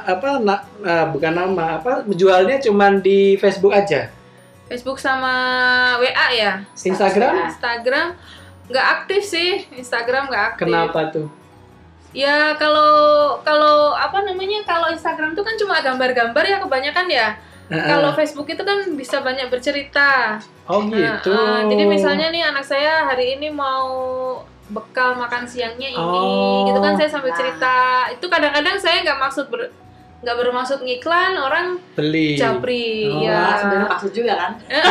[SPEAKER 1] apa na- eh, bukan nama apa jualnya cuman di Facebook aja.
[SPEAKER 3] Facebook sama WA ya
[SPEAKER 1] Instagram?
[SPEAKER 2] Status
[SPEAKER 3] Instagram nggak aktif sih Instagram nggak aktif
[SPEAKER 1] Kenapa tuh?
[SPEAKER 3] ya kalau kalau apa namanya kalau Instagram tuh kan cuma gambar-gambar ya kebanyakan ya
[SPEAKER 1] Heeh.
[SPEAKER 3] kalau Facebook itu kan bisa banyak bercerita
[SPEAKER 1] oh
[SPEAKER 3] Nah,
[SPEAKER 1] gitu.
[SPEAKER 3] eh, jadi misalnya nih anak saya hari ini mau bekal makan siangnya ini
[SPEAKER 1] Oh.
[SPEAKER 3] gitu kan saya sambil
[SPEAKER 2] Ah.
[SPEAKER 3] cerita itu kadang-kadang saya nggak maksud ber- nggak bermaksud ngiklan orang
[SPEAKER 1] beli.
[SPEAKER 3] japri
[SPEAKER 1] Oh.
[SPEAKER 2] Ya, sebenarnya
[SPEAKER 3] ya
[SPEAKER 2] maksud juga kan.
[SPEAKER 3] Eh,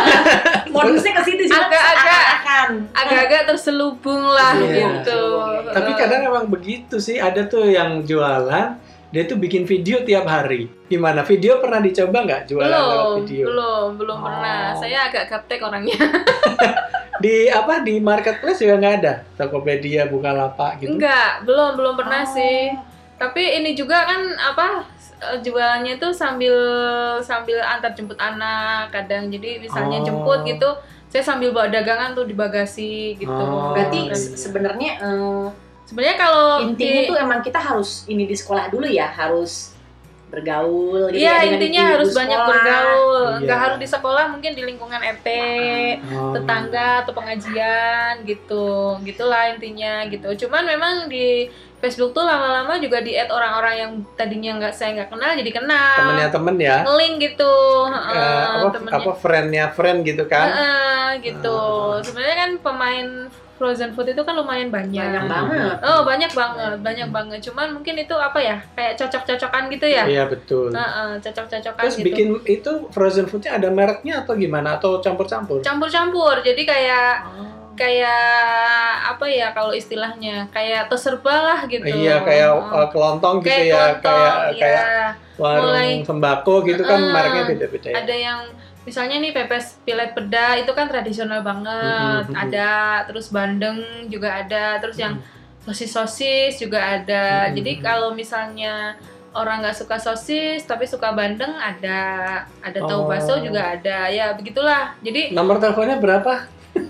[SPEAKER 2] Modusnya ke situ cuma
[SPEAKER 3] Agak-agak.
[SPEAKER 2] seakan-akan.
[SPEAKER 3] agak-agak terselubung lah
[SPEAKER 1] Iya.
[SPEAKER 3] gitu
[SPEAKER 1] Tapi kadang emang begitu sih, ada tuh yang jualan, dia tuh bikin video tiap hari. Gimana? Video pernah dicoba nggak jualan lewat
[SPEAKER 3] belum
[SPEAKER 1] video?
[SPEAKER 3] belum belum
[SPEAKER 1] Oh.
[SPEAKER 3] pernah saya agak gaptek orangnya
[SPEAKER 1] Di apa di marketplace juga nggak ada. Tokopedia, Bukalapak gitu.
[SPEAKER 3] Enggak, belum belum pernah
[SPEAKER 2] Oh.
[SPEAKER 3] sih. Tapi ini juga kan apa eh, jualannya tuh sambil sambil antar jemput anak kadang. Jadi misalnya
[SPEAKER 1] Oh.
[SPEAKER 3] jemput gitu, saya sambil bawa dagangan tuh di bagasi gitu.
[SPEAKER 1] Oh. iya.
[SPEAKER 2] Berarti se- sebenarnya eh,
[SPEAKER 3] sebenarnya kalau
[SPEAKER 2] intinya
[SPEAKER 3] Oh, di-
[SPEAKER 2] tuh emang kita harus ini di sekolah dulu ya, harus bergaul gitu
[SPEAKER 3] Iya,
[SPEAKER 2] dengan ibu-ibu
[SPEAKER 3] intinya harus
[SPEAKER 2] sekolah.
[SPEAKER 3] banyak bergaul.
[SPEAKER 1] Iya.
[SPEAKER 3] Enggak harus di sekolah, mungkin di lingkungan RT,
[SPEAKER 1] Oh.
[SPEAKER 3] tetangga atau pengajian gitu. Gitulah intinya gitu. Cuman memang di Facebook tuh lama-lama juga di add orang-orang yang tadinya nggak saya nggak kenal jadi kenal.
[SPEAKER 1] Temennya temen ya.
[SPEAKER 3] link gitu heeh,
[SPEAKER 1] Eh, apa
[SPEAKER 3] temennya.
[SPEAKER 1] apa friendnya friend gitu kan?
[SPEAKER 3] Heeh, gitu
[SPEAKER 1] Ah.
[SPEAKER 3] sebenarnya kan pemain frozen food itu kan lumayan banyak
[SPEAKER 2] Banyak
[SPEAKER 1] Hmm.
[SPEAKER 2] banget.
[SPEAKER 3] oh banyak banget banyak banget cuman mungkin itu apa ya kayak cocok-cocokan gitu ya
[SPEAKER 1] Iya betul.
[SPEAKER 3] Heeh, cocok-cocokan
[SPEAKER 1] Terus
[SPEAKER 3] gitu
[SPEAKER 1] bikin itu frozen foodnya ada mereknya atau gimana? Atau campur-campur?
[SPEAKER 3] campur-campur jadi kayak
[SPEAKER 2] Oh.
[SPEAKER 3] kayak apa ya kalau istilahnya kayak terserba lah gitu
[SPEAKER 1] Iya kayak
[SPEAKER 3] Heeh.
[SPEAKER 1] eh, kelontong gitu
[SPEAKER 3] Kayak
[SPEAKER 1] ya,
[SPEAKER 3] kelontong,
[SPEAKER 1] kayak kayak
[SPEAKER 3] iya.
[SPEAKER 1] warung
[SPEAKER 3] Mulai-
[SPEAKER 1] sembako gitu kan
[SPEAKER 3] Heeh.
[SPEAKER 1] mereknya beda-beda. ya.
[SPEAKER 3] ada yang misalnya nih pepes pilet peda itu kan tradisional banget
[SPEAKER 1] Mhm, mhm.
[SPEAKER 3] ada terus bandeng juga ada terus yang
[SPEAKER 1] Hmm.
[SPEAKER 3] sosis sosis juga ada
[SPEAKER 1] Mhm,
[SPEAKER 3] jadi
[SPEAKER 1] mhm.
[SPEAKER 3] kalau misalnya orang nggak suka sosis tapi suka bandeng ada ada
[SPEAKER 1] Oh.
[SPEAKER 3] tahu bakso juga ada ya begitulah jadi
[SPEAKER 1] Nomor teleponnya berapa? Ya,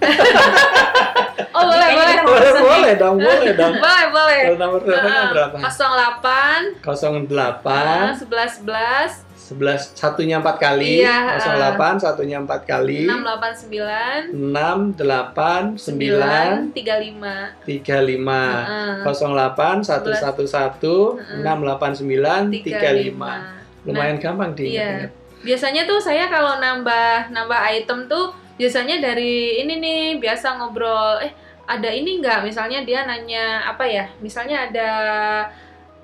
[SPEAKER 3] oh boleh boleh
[SPEAKER 2] Kayaknya
[SPEAKER 1] Boleh, boleh dong, boleh dong.
[SPEAKER 3] boleh boleh
[SPEAKER 1] Kalau nomor teleponnya berapa?
[SPEAKER 3] 08
[SPEAKER 1] 08
[SPEAKER 3] 11 11
[SPEAKER 1] 11 satunya 4 kali,
[SPEAKER 3] Iya.
[SPEAKER 1] 08 satunya 4 kali,
[SPEAKER 3] 689
[SPEAKER 1] 689 35
[SPEAKER 3] 9 35
[SPEAKER 1] Nah,
[SPEAKER 3] Heeh.
[SPEAKER 1] 08 111 689 35. Lumayan gampang diingat.
[SPEAKER 3] Iya. Biasanya tuh saya kalau nambah nambah item tuh biasanya dari ini nih biasa ngobrol eh ada ini nggak misalnya dia nanya apa ya misalnya ada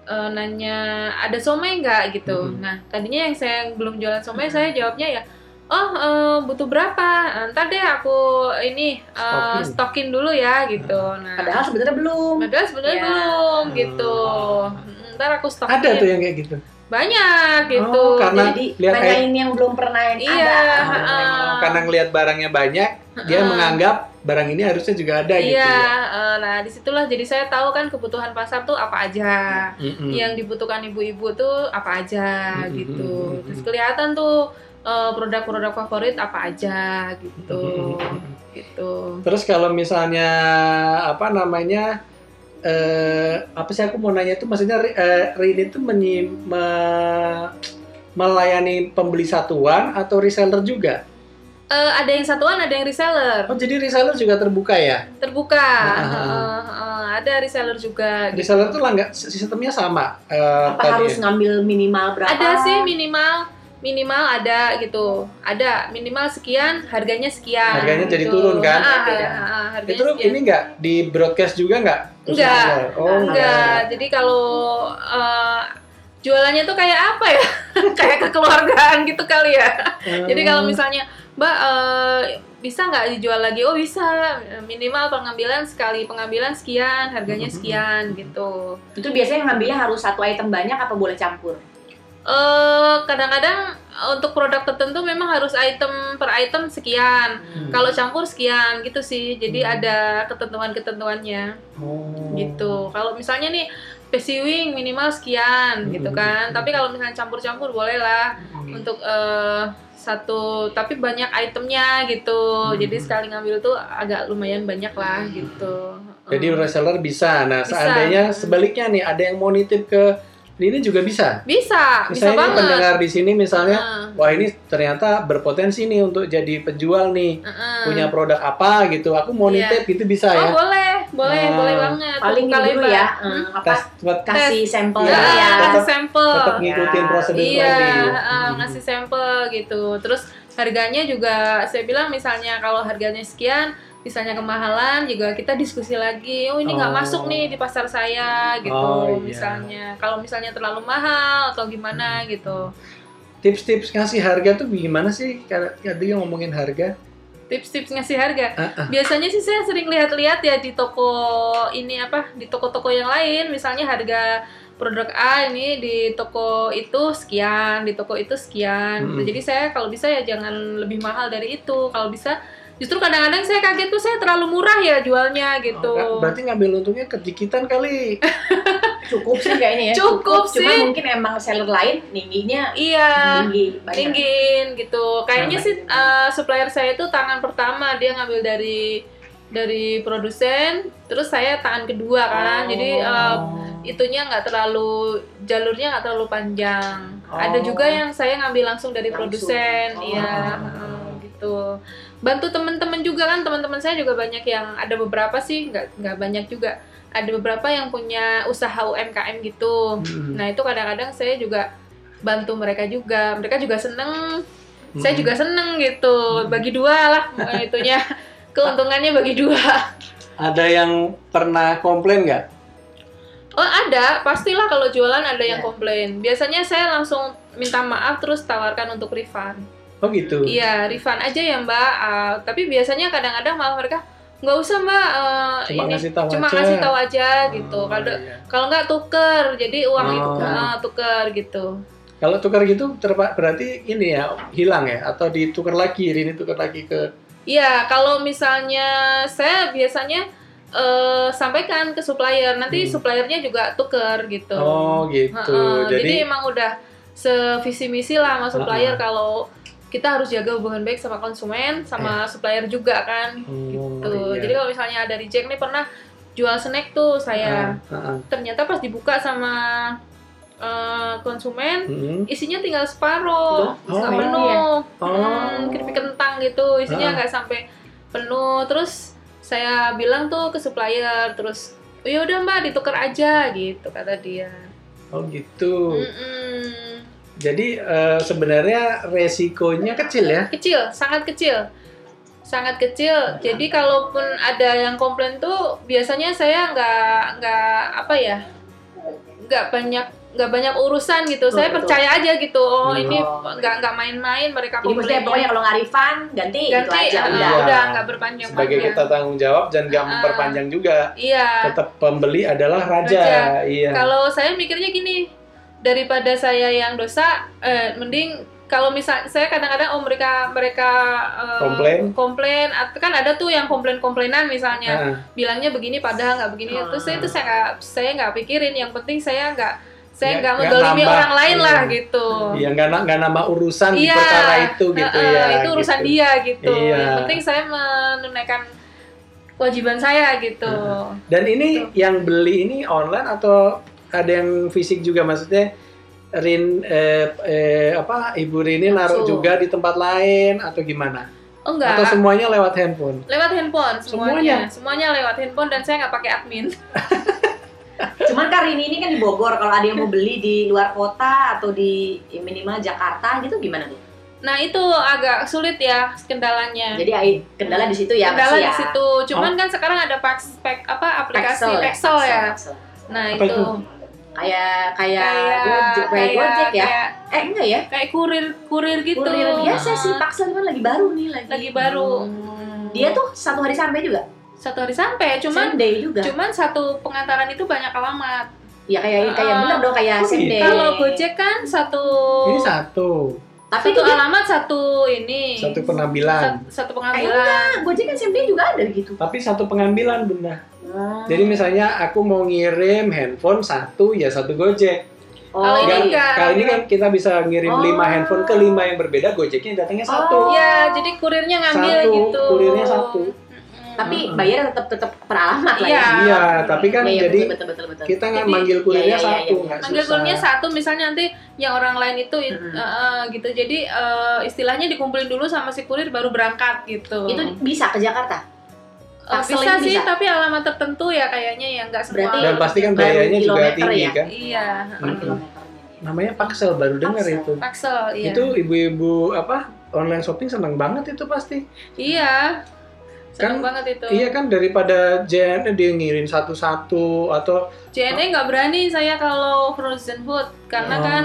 [SPEAKER 3] eh, nanya ada somai nggak gitu
[SPEAKER 1] Mhm.
[SPEAKER 3] nah tadinya yang saya belum jualan somai saya jawabnya ya oh eh, butuh berapa Eh, ntar deh aku ini eh,
[SPEAKER 1] Stokin.
[SPEAKER 3] stokin dulu ya gitu nah
[SPEAKER 2] Padahal sebenarnya belum.
[SPEAKER 3] padahal sebenarnya
[SPEAKER 2] Ya.
[SPEAKER 3] belum gitu
[SPEAKER 1] Oh.
[SPEAKER 3] Mm, ntar aku stokin
[SPEAKER 1] Ada tuh yang kayak gitu.
[SPEAKER 3] banyak gitu
[SPEAKER 1] Oh, karena
[SPEAKER 2] Jadi
[SPEAKER 1] lihat kayak-
[SPEAKER 2] nanyain yang belum pernah yang
[SPEAKER 3] Iya,
[SPEAKER 2] ada.
[SPEAKER 3] heeh.
[SPEAKER 1] karena ngelihat barangnya banyak, dia
[SPEAKER 3] Heeh.
[SPEAKER 1] menganggap barang ini harusnya juga ada gitu.
[SPEAKER 3] Ah. Iya,
[SPEAKER 1] ya.
[SPEAKER 3] eh, nah disitulah jadi saya tahu kan kebutuhan pasar tuh apa aja,
[SPEAKER 1] Mm-mm.
[SPEAKER 3] yang dibutuhkan ibu-ibu tuh apa aja
[SPEAKER 1] Mm-mm.
[SPEAKER 3] gitu,
[SPEAKER 1] Mm-mm.
[SPEAKER 3] terus kelihatan tuh eh, produk-produk favorit apa aja
[SPEAKER 1] Hmm,
[SPEAKER 3] gitu,
[SPEAKER 1] Mm-mm.
[SPEAKER 3] gitu.
[SPEAKER 1] Terus kalau misalnya apa namanya eh apa sih aku mau nanya itu maksudnya Ri- eh, Rini itu menyi- me- melayani pembeli satuan atau reseller juga?
[SPEAKER 3] Eh, ada yang satuan, ada yang reseller
[SPEAKER 1] Oh jadi reseller juga terbuka ya?
[SPEAKER 3] terbuka,
[SPEAKER 1] Ah.
[SPEAKER 3] Eh, eh, ada reseller juga. gitu.
[SPEAKER 1] Reseller tuh langga sistemnya sama. eh,
[SPEAKER 2] Apa
[SPEAKER 1] tadi
[SPEAKER 2] harus
[SPEAKER 1] ya?
[SPEAKER 2] ngambil minimal berapa?
[SPEAKER 3] Ada sih minimal minimal ada gitu, ada minimal sekian, harganya sekian.
[SPEAKER 1] Harganya jadi
[SPEAKER 3] gitu.
[SPEAKER 1] turun, kan?
[SPEAKER 3] Ah, ah,
[SPEAKER 2] Iya.
[SPEAKER 3] ah, harganya
[SPEAKER 1] itu
[SPEAKER 3] sekian.
[SPEAKER 1] ini nggak di broadcast juga nggak?
[SPEAKER 3] Nggak.
[SPEAKER 1] Oh
[SPEAKER 3] Enggak, jadi kalau eh, jualannya tuh kayak apa ya? kayak kekeluargaan gitu kali ya. Jadi kalau
[SPEAKER 1] Hmm.
[SPEAKER 3] misalnya, Mbak eh, bisa nggak dijual lagi? Oh bisa, minimal pengambilan sekali pengambilan sekian, harganya sekian gitu.
[SPEAKER 2] Itu biasanya ngambilnya harus satu item banyak apa boleh campur?
[SPEAKER 3] Eh, kadang-kadang untuk produk tertentu memang harus item per item sekian. Kalau campur sekian gitu sih. Jadi
[SPEAKER 1] Hmm.
[SPEAKER 3] ada ketentuan-ketentuannya. gitu. Kalau Gitu. misalnya nih spesiwing minimal sekian gitu
[SPEAKER 1] Mm-mm.
[SPEAKER 3] kan. Tapi kalau misalnya campur-campur boleh lah
[SPEAKER 1] Hmm.
[SPEAKER 3] untuk eh, satu tapi banyak itemnya gitu.
[SPEAKER 1] Mm-mm.
[SPEAKER 3] Jadi sekali ngambil tuh agak lumayan banyak lah gitu.
[SPEAKER 1] Hmm. Jadi
[SPEAKER 3] Mm.
[SPEAKER 1] reseller bisa. Nah,
[SPEAKER 3] Bisa. Hmm.
[SPEAKER 1] seandainya sebaliknya nih ada yang mau nitip ke ini juga bisa.
[SPEAKER 3] bisa,
[SPEAKER 1] Misalnya
[SPEAKER 3] bisa
[SPEAKER 1] ini
[SPEAKER 3] banget. Hmm.
[SPEAKER 1] pendengar di sini misalnya,
[SPEAKER 3] Heeh.
[SPEAKER 1] wah ini ternyata berpotensi nih untuk jadi penjual nih.
[SPEAKER 3] Heeh.
[SPEAKER 1] Punya produk apa gitu. Aku mau
[SPEAKER 3] Hmm. Iya.
[SPEAKER 1] nitip gitu bisa
[SPEAKER 3] Oh
[SPEAKER 1] ya.
[SPEAKER 3] boleh, boleh,
[SPEAKER 1] Ah.
[SPEAKER 3] boleh banget.
[SPEAKER 2] paling
[SPEAKER 3] Buka
[SPEAKER 2] ini dulu
[SPEAKER 3] lebar.
[SPEAKER 2] ya
[SPEAKER 3] Hmm?
[SPEAKER 2] eh, apa
[SPEAKER 1] Tes buat
[SPEAKER 2] kasih sampel
[SPEAKER 1] Iya,
[SPEAKER 3] Ya,
[SPEAKER 2] ya
[SPEAKER 1] tetap-
[SPEAKER 3] kasih sampel.
[SPEAKER 1] tetap ngikutin
[SPEAKER 2] Ya.
[SPEAKER 1] prosedur
[SPEAKER 3] Iya,
[SPEAKER 1] tadi.
[SPEAKER 3] eh,
[SPEAKER 1] Hmm.
[SPEAKER 3] ngasih sampel gitu. Terus harganya juga saya bilang misalnya kalau harganya sekian, misalnya kemahalan juga kita diskusi lagi. Oh ini nggak
[SPEAKER 1] Oh.
[SPEAKER 3] masuk nih di pasar saya gitu
[SPEAKER 1] Oh, iya.
[SPEAKER 3] misalnya. Kalau misalnya terlalu mahal atau
[SPEAKER 1] Hmm.
[SPEAKER 3] gimana gitu.
[SPEAKER 1] Tips-tips ngasih harga tuh gimana sih? Kalau tadi ngomongin harga.
[SPEAKER 3] Tips-tips ngasih harga.
[SPEAKER 1] Ah, ah.
[SPEAKER 3] Biasanya sih saya sering lihat-lihat ya di toko ini apa di toko-toko yang lain misalnya harga produk A ini di toko itu sekian, di toko itu sekian. gitu.
[SPEAKER 1] Mm-mm.
[SPEAKER 3] Jadi saya kalau bisa ya jangan lebih mahal dari itu. Kalau bisa justru kadang-kadang saya kaget tuh saya terlalu murah ya jualnya gitu.
[SPEAKER 1] Oh, berarti ngambil untungnya kedikitan kali.
[SPEAKER 2] cukup sih kayaknya ya
[SPEAKER 3] Cukup
[SPEAKER 2] cuma
[SPEAKER 3] sih.
[SPEAKER 2] mungkin emang seller lain tingginya
[SPEAKER 3] iya.
[SPEAKER 2] tinggi banyak
[SPEAKER 3] Tinggin gitu. Kayaknya
[SPEAKER 2] Nah,
[SPEAKER 3] sih
[SPEAKER 2] banyak.
[SPEAKER 3] eh, supplier saya itu tangan pertama dia ngambil dari dari produsen, terus saya tangan
[SPEAKER 1] Oh.
[SPEAKER 3] kedua kan. Jadi eh, itunya nggak terlalu jalurnya nggak terlalu panjang.
[SPEAKER 1] Oh.
[SPEAKER 3] Ada juga yang saya ngambil langsung dari
[SPEAKER 2] Langsung.
[SPEAKER 3] produsen,
[SPEAKER 2] Oh.
[SPEAKER 3] iya heeh, gitu. Bantu teman-teman juga kan, teman-teman saya juga banyak yang ada beberapa sih, nggak nggak banyak juga. Ada beberapa yang punya usaha UMKM gitu.
[SPEAKER 1] Hmm.
[SPEAKER 3] Nah itu kadang-kadang saya juga bantu mereka juga, mereka juga seneng, saya
[SPEAKER 1] Hmm.
[SPEAKER 3] juga seneng gitu.
[SPEAKER 1] Hmm.
[SPEAKER 3] Bagi dua lah eh, itunya, keuntungannya bagi dua.
[SPEAKER 1] Ada yang pernah komplain nggak?
[SPEAKER 3] Oh ada, pastilah kalau jualan ada yang
[SPEAKER 2] Iya.
[SPEAKER 3] komplain. Biasanya saya langsung minta maaf terus tawarkan untuk refund.
[SPEAKER 1] Oh gitu.
[SPEAKER 3] Iya refund aja ya mbak. Ah, tapi biasanya kadang-kadang malah mereka nggak usah mbak eh,
[SPEAKER 1] Cuma
[SPEAKER 3] ini
[SPEAKER 1] ngasih tahu
[SPEAKER 3] cuma
[SPEAKER 1] aja.
[SPEAKER 3] ngasih tahu aja gitu.
[SPEAKER 1] Oh,
[SPEAKER 3] Kalau
[SPEAKER 1] iya.
[SPEAKER 3] kalau nggak tuker, jadi uang itu
[SPEAKER 1] Oh.
[SPEAKER 3] ah, tuker gitu.
[SPEAKER 1] Kalau tukar gitu terpa- berarti ini ya hilang ya atau ditukar lagi ini tukar lagi ke
[SPEAKER 3] Iya kalau misalnya saya biasanya eh, sampaikan ke supplier, nanti
[SPEAKER 1] Hmm.
[SPEAKER 3] suppliernya juga tuker gitu.
[SPEAKER 1] oh gitu.
[SPEAKER 3] Heeh, jadi,
[SPEAKER 1] Jadi,
[SPEAKER 3] emang udah sevisi misi lah sama
[SPEAKER 1] Heeh.
[SPEAKER 3] supplier kalau kita harus jaga hubungan baik sama konsumen sama supplier juga kan
[SPEAKER 1] Iya. Oh,
[SPEAKER 3] gitu.
[SPEAKER 1] iya.
[SPEAKER 3] Jadi kalau misalnya ada reject nih pernah jual snack tuh saya
[SPEAKER 1] Ah, ah, ah.
[SPEAKER 3] ternyata pas dibuka sama eh, konsumen
[SPEAKER 1] Mm-mm.
[SPEAKER 3] isinya tinggal
[SPEAKER 2] Loh,
[SPEAKER 3] separuh nggak
[SPEAKER 1] Hmm. oh.
[SPEAKER 3] penuh
[SPEAKER 1] Oh.
[SPEAKER 3] Hmm, keripik kentang gitu
[SPEAKER 1] Ah.
[SPEAKER 3] isinya nggak sampai penuh terus saya bilang tuh ke supplier terus "Oh, ya udah mbak ditukar aja gitu kata dia
[SPEAKER 1] Oh gitu.
[SPEAKER 3] Hmm. Mm-mm.
[SPEAKER 1] Jadi eh, sebenarnya resikonya kecil ya.
[SPEAKER 3] kecil, sangat kecil, sangat kecil. Jadi kalaupun ada yang komplain tuh biasanya saya nggak nggak apa ya, nggak banyak nggak banyak urusan gitu.
[SPEAKER 2] Betul,
[SPEAKER 3] saya
[SPEAKER 2] betul.
[SPEAKER 3] percaya aja gitu. Oh
[SPEAKER 1] Hmm.
[SPEAKER 3] ini
[SPEAKER 2] Oh.
[SPEAKER 3] nggak nggak main-main mereka
[SPEAKER 2] jadi maksudnya
[SPEAKER 3] komplain.
[SPEAKER 2] pokoknya kalau nggak refund ganti, gitu
[SPEAKER 3] Ganti,
[SPEAKER 2] aja
[SPEAKER 3] ah,
[SPEAKER 2] udah
[SPEAKER 1] Iya.
[SPEAKER 3] udah nggak berpanjang
[SPEAKER 1] Sebagai
[SPEAKER 3] panjang.
[SPEAKER 1] kita tanggung jawab dan nggak
[SPEAKER 3] Ah.
[SPEAKER 1] memperpanjang juga.
[SPEAKER 3] Iya.
[SPEAKER 1] Tetap pembeli adalah raja.
[SPEAKER 3] Raja.
[SPEAKER 1] Iya.
[SPEAKER 3] Kalau saya mikirnya gini, daripada saya yang dosa, eh, mending kalau misal saya kadang-kadang oh mereka mereka eh,
[SPEAKER 1] Komplain.
[SPEAKER 3] komplain, atau kan ada tuh yang komplain-komplainan misalnya.
[SPEAKER 1] Ah.
[SPEAKER 3] bilangnya begini padahal nggak begini
[SPEAKER 2] Ah.
[SPEAKER 3] terus saya itu saya nggak saya nggak pikirin yang penting saya nggak
[SPEAKER 1] Ya,
[SPEAKER 3] saya nggak
[SPEAKER 1] nggak
[SPEAKER 3] mendolimi
[SPEAKER 1] nambah.
[SPEAKER 3] orang lain lah
[SPEAKER 1] Iya.
[SPEAKER 3] gitu
[SPEAKER 1] Iya nggak na- nggak nama urusan di
[SPEAKER 3] Iya,
[SPEAKER 1] perkara itu gitu
[SPEAKER 3] Heeh,
[SPEAKER 1] ya.
[SPEAKER 3] itu urusan
[SPEAKER 1] gitu.
[SPEAKER 3] dia gitu
[SPEAKER 1] Iya.
[SPEAKER 3] yang penting saya menunaikan kewajiban saya gitu
[SPEAKER 1] Dan ini yang beli ini online atau ada yang fisik juga maksudnya? Rin eh, eh, apa Ibu Rini naruh
[SPEAKER 2] Langsung.
[SPEAKER 1] juga di tempat lain atau gimana?
[SPEAKER 3] oh enggak
[SPEAKER 1] Atau semuanya lewat handphone?
[SPEAKER 3] lewat handphone
[SPEAKER 1] Semuanya?
[SPEAKER 3] semuanya. semuanya lewat handphone dan saya nggak pakai admin
[SPEAKER 2] cuman kan Rini ini kan di Bogor kalau ada yang mau beli di luar kota atau di minimal Jakarta gitu gimana tuh
[SPEAKER 3] nah itu agak sulit ya kendalanya
[SPEAKER 2] jadi ai- kendala di situ ya masih
[SPEAKER 3] kendala di
[SPEAKER 2] ya.
[SPEAKER 3] situ cuman kan sekarang ada paks, pak- apa aplikasi
[SPEAKER 2] Pexel,
[SPEAKER 3] Pexel ya
[SPEAKER 2] Pexel.
[SPEAKER 3] nah
[SPEAKER 1] Apa itu?
[SPEAKER 2] kayak kayak
[SPEAKER 3] kayak
[SPEAKER 2] Gojek- Ya, kayak Gojek ya
[SPEAKER 3] kayak
[SPEAKER 2] eh enggak ya
[SPEAKER 3] kayak kurir kurir gitu
[SPEAKER 2] kurir biasa
[SPEAKER 3] Nah,
[SPEAKER 2] sih Hmm. Paksel kan lagi baru nih lagi
[SPEAKER 3] lagi baru Hmm.
[SPEAKER 2] dia tuh satu hari sampai juga
[SPEAKER 3] satu hari sampai cuman
[SPEAKER 2] same day juga
[SPEAKER 3] cuman satu pengantaran itu banyak alamat
[SPEAKER 2] ya kayak kayak
[SPEAKER 3] Ah.
[SPEAKER 2] bener dong kayak
[SPEAKER 1] Oh,
[SPEAKER 2] same
[SPEAKER 1] gitu.
[SPEAKER 2] day
[SPEAKER 3] kalau gojek kan satu
[SPEAKER 1] Ini satu.
[SPEAKER 2] Tapi
[SPEAKER 3] satu
[SPEAKER 2] dia,
[SPEAKER 3] alamat satu ini
[SPEAKER 1] satu penampilan.
[SPEAKER 3] Sat- satu
[SPEAKER 2] Ayo,
[SPEAKER 3] pengambilan
[SPEAKER 2] Gojek kan SMP juga ada gitu.
[SPEAKER 1] Tapi satu pengambilan bunda.
[SPEAKER 3] Hmm.
[SPEAKER 1] Jadi misalnya aku mau ngirim handphone satu ya satu Gojek.
[SPEAKER 2] oh,
[SPEAKER 3] kalau ini
[SPEAKER 1] Nggak-
[SPEAKER 3] enggak
[SPEAKER 1] Kali ini kan kita bisa ngirim
[SPEAKER 2] Oh.
[SPEAKER 1] lima handphone ke lima yang berbeda, Gojeknya datangnya satu.
[SPEAKER 2] Oh.
[SPEAKER 3] ya jadi kurirnya ngambil
[SPEAKER 1] Satu,
[SPEAKER 3] gitu
[SPEAKER 1] kurirnya satu.
[SPEAKER 3] Mm-mm.
[SPEAKER 2] tapi
[SPEAKER 1] Mm-mm.
[SPEAKER 2] bayar tetap tetap per alamat lah ya.
[SPEAKER 3] Iya.
[SPEAKER 1] Hmm. Iya, tapi kan
[SPEAKER 2] Iya, iya,
[SPEAKER 1] jadi
[SPEAKER 2] betul, betul, betul, betul.
[SPEAKER 1] kita nggak
[SPEAKER 3] Jadi,
[SPEAKER 1] manggil
[SPEAKER 2] iya,
[SPEAKER 1] kurirnya
[SPEAKER 2] iya,
[SPEAKER 1] satu,
[SPEAKER 2] iya.
[SPEAKER 1] nggak
[SPEAKER 3] manggil
[SPEAKER 1] susah.
[SPEAKER 3] kurirnya satu misalnya nanti yang orang lain itu it-
[SPEAKER 2] Mm-mm.
[SPEAKER 3] eh, eh, gitu jadi eh, istilahnya dikumpulin dulu sama si kurir baru berangkat gitu
[SPEAKER 2] itu bisa ke Jakarta.
[SPEAKER 3] Eh,
[SPEAKER 2] parcelnya
[SPEAKER 3] bisa sih
[SPEAKER 2] bisa.
[SPEAKER 3] tapi alamat tertentu ya kayaknya ya nggak semua
[SPEAKER 2] Berarti-
[SPEAKER 1] Dan pasti kan
[SPEAKER 2] Baru
[SPEAKER 1] biayanya juga
[SPEAKER 2] kilometer
[SPEAKER 1] tinggi
[SPEAKER 2] ya.
[SPEAKER 1] kan. Hmm.
[SPEAKER 3] iya
[SPEAKER 2] Per
[SPEAKER 1] Mm-mm.
[SPEAKER 2] kilometernya, iya.
[SPEAKER 1] Namanya Paksel baru dengar
[SPEAKER 2] Paksel.
[SPEAKER 1] itu.
[SPEAKER 3] Paksel iya
[SPEAKER 1] Itu ibu-ibu apa online shopping senang banget itu pasti.
[SPEAKER 3] iya seneng
[SPEAKER 1] Kan-
[SPEAKER 3] banget itu
[SPEAKER 1] Iya kan daripada JNE dia ngirim satu-satu atau
[SPEAKER 3] JNE E nggak berani saya kalau frozen food karena
[SPEAKER 1] Oh.
[SPEAKER 3] kan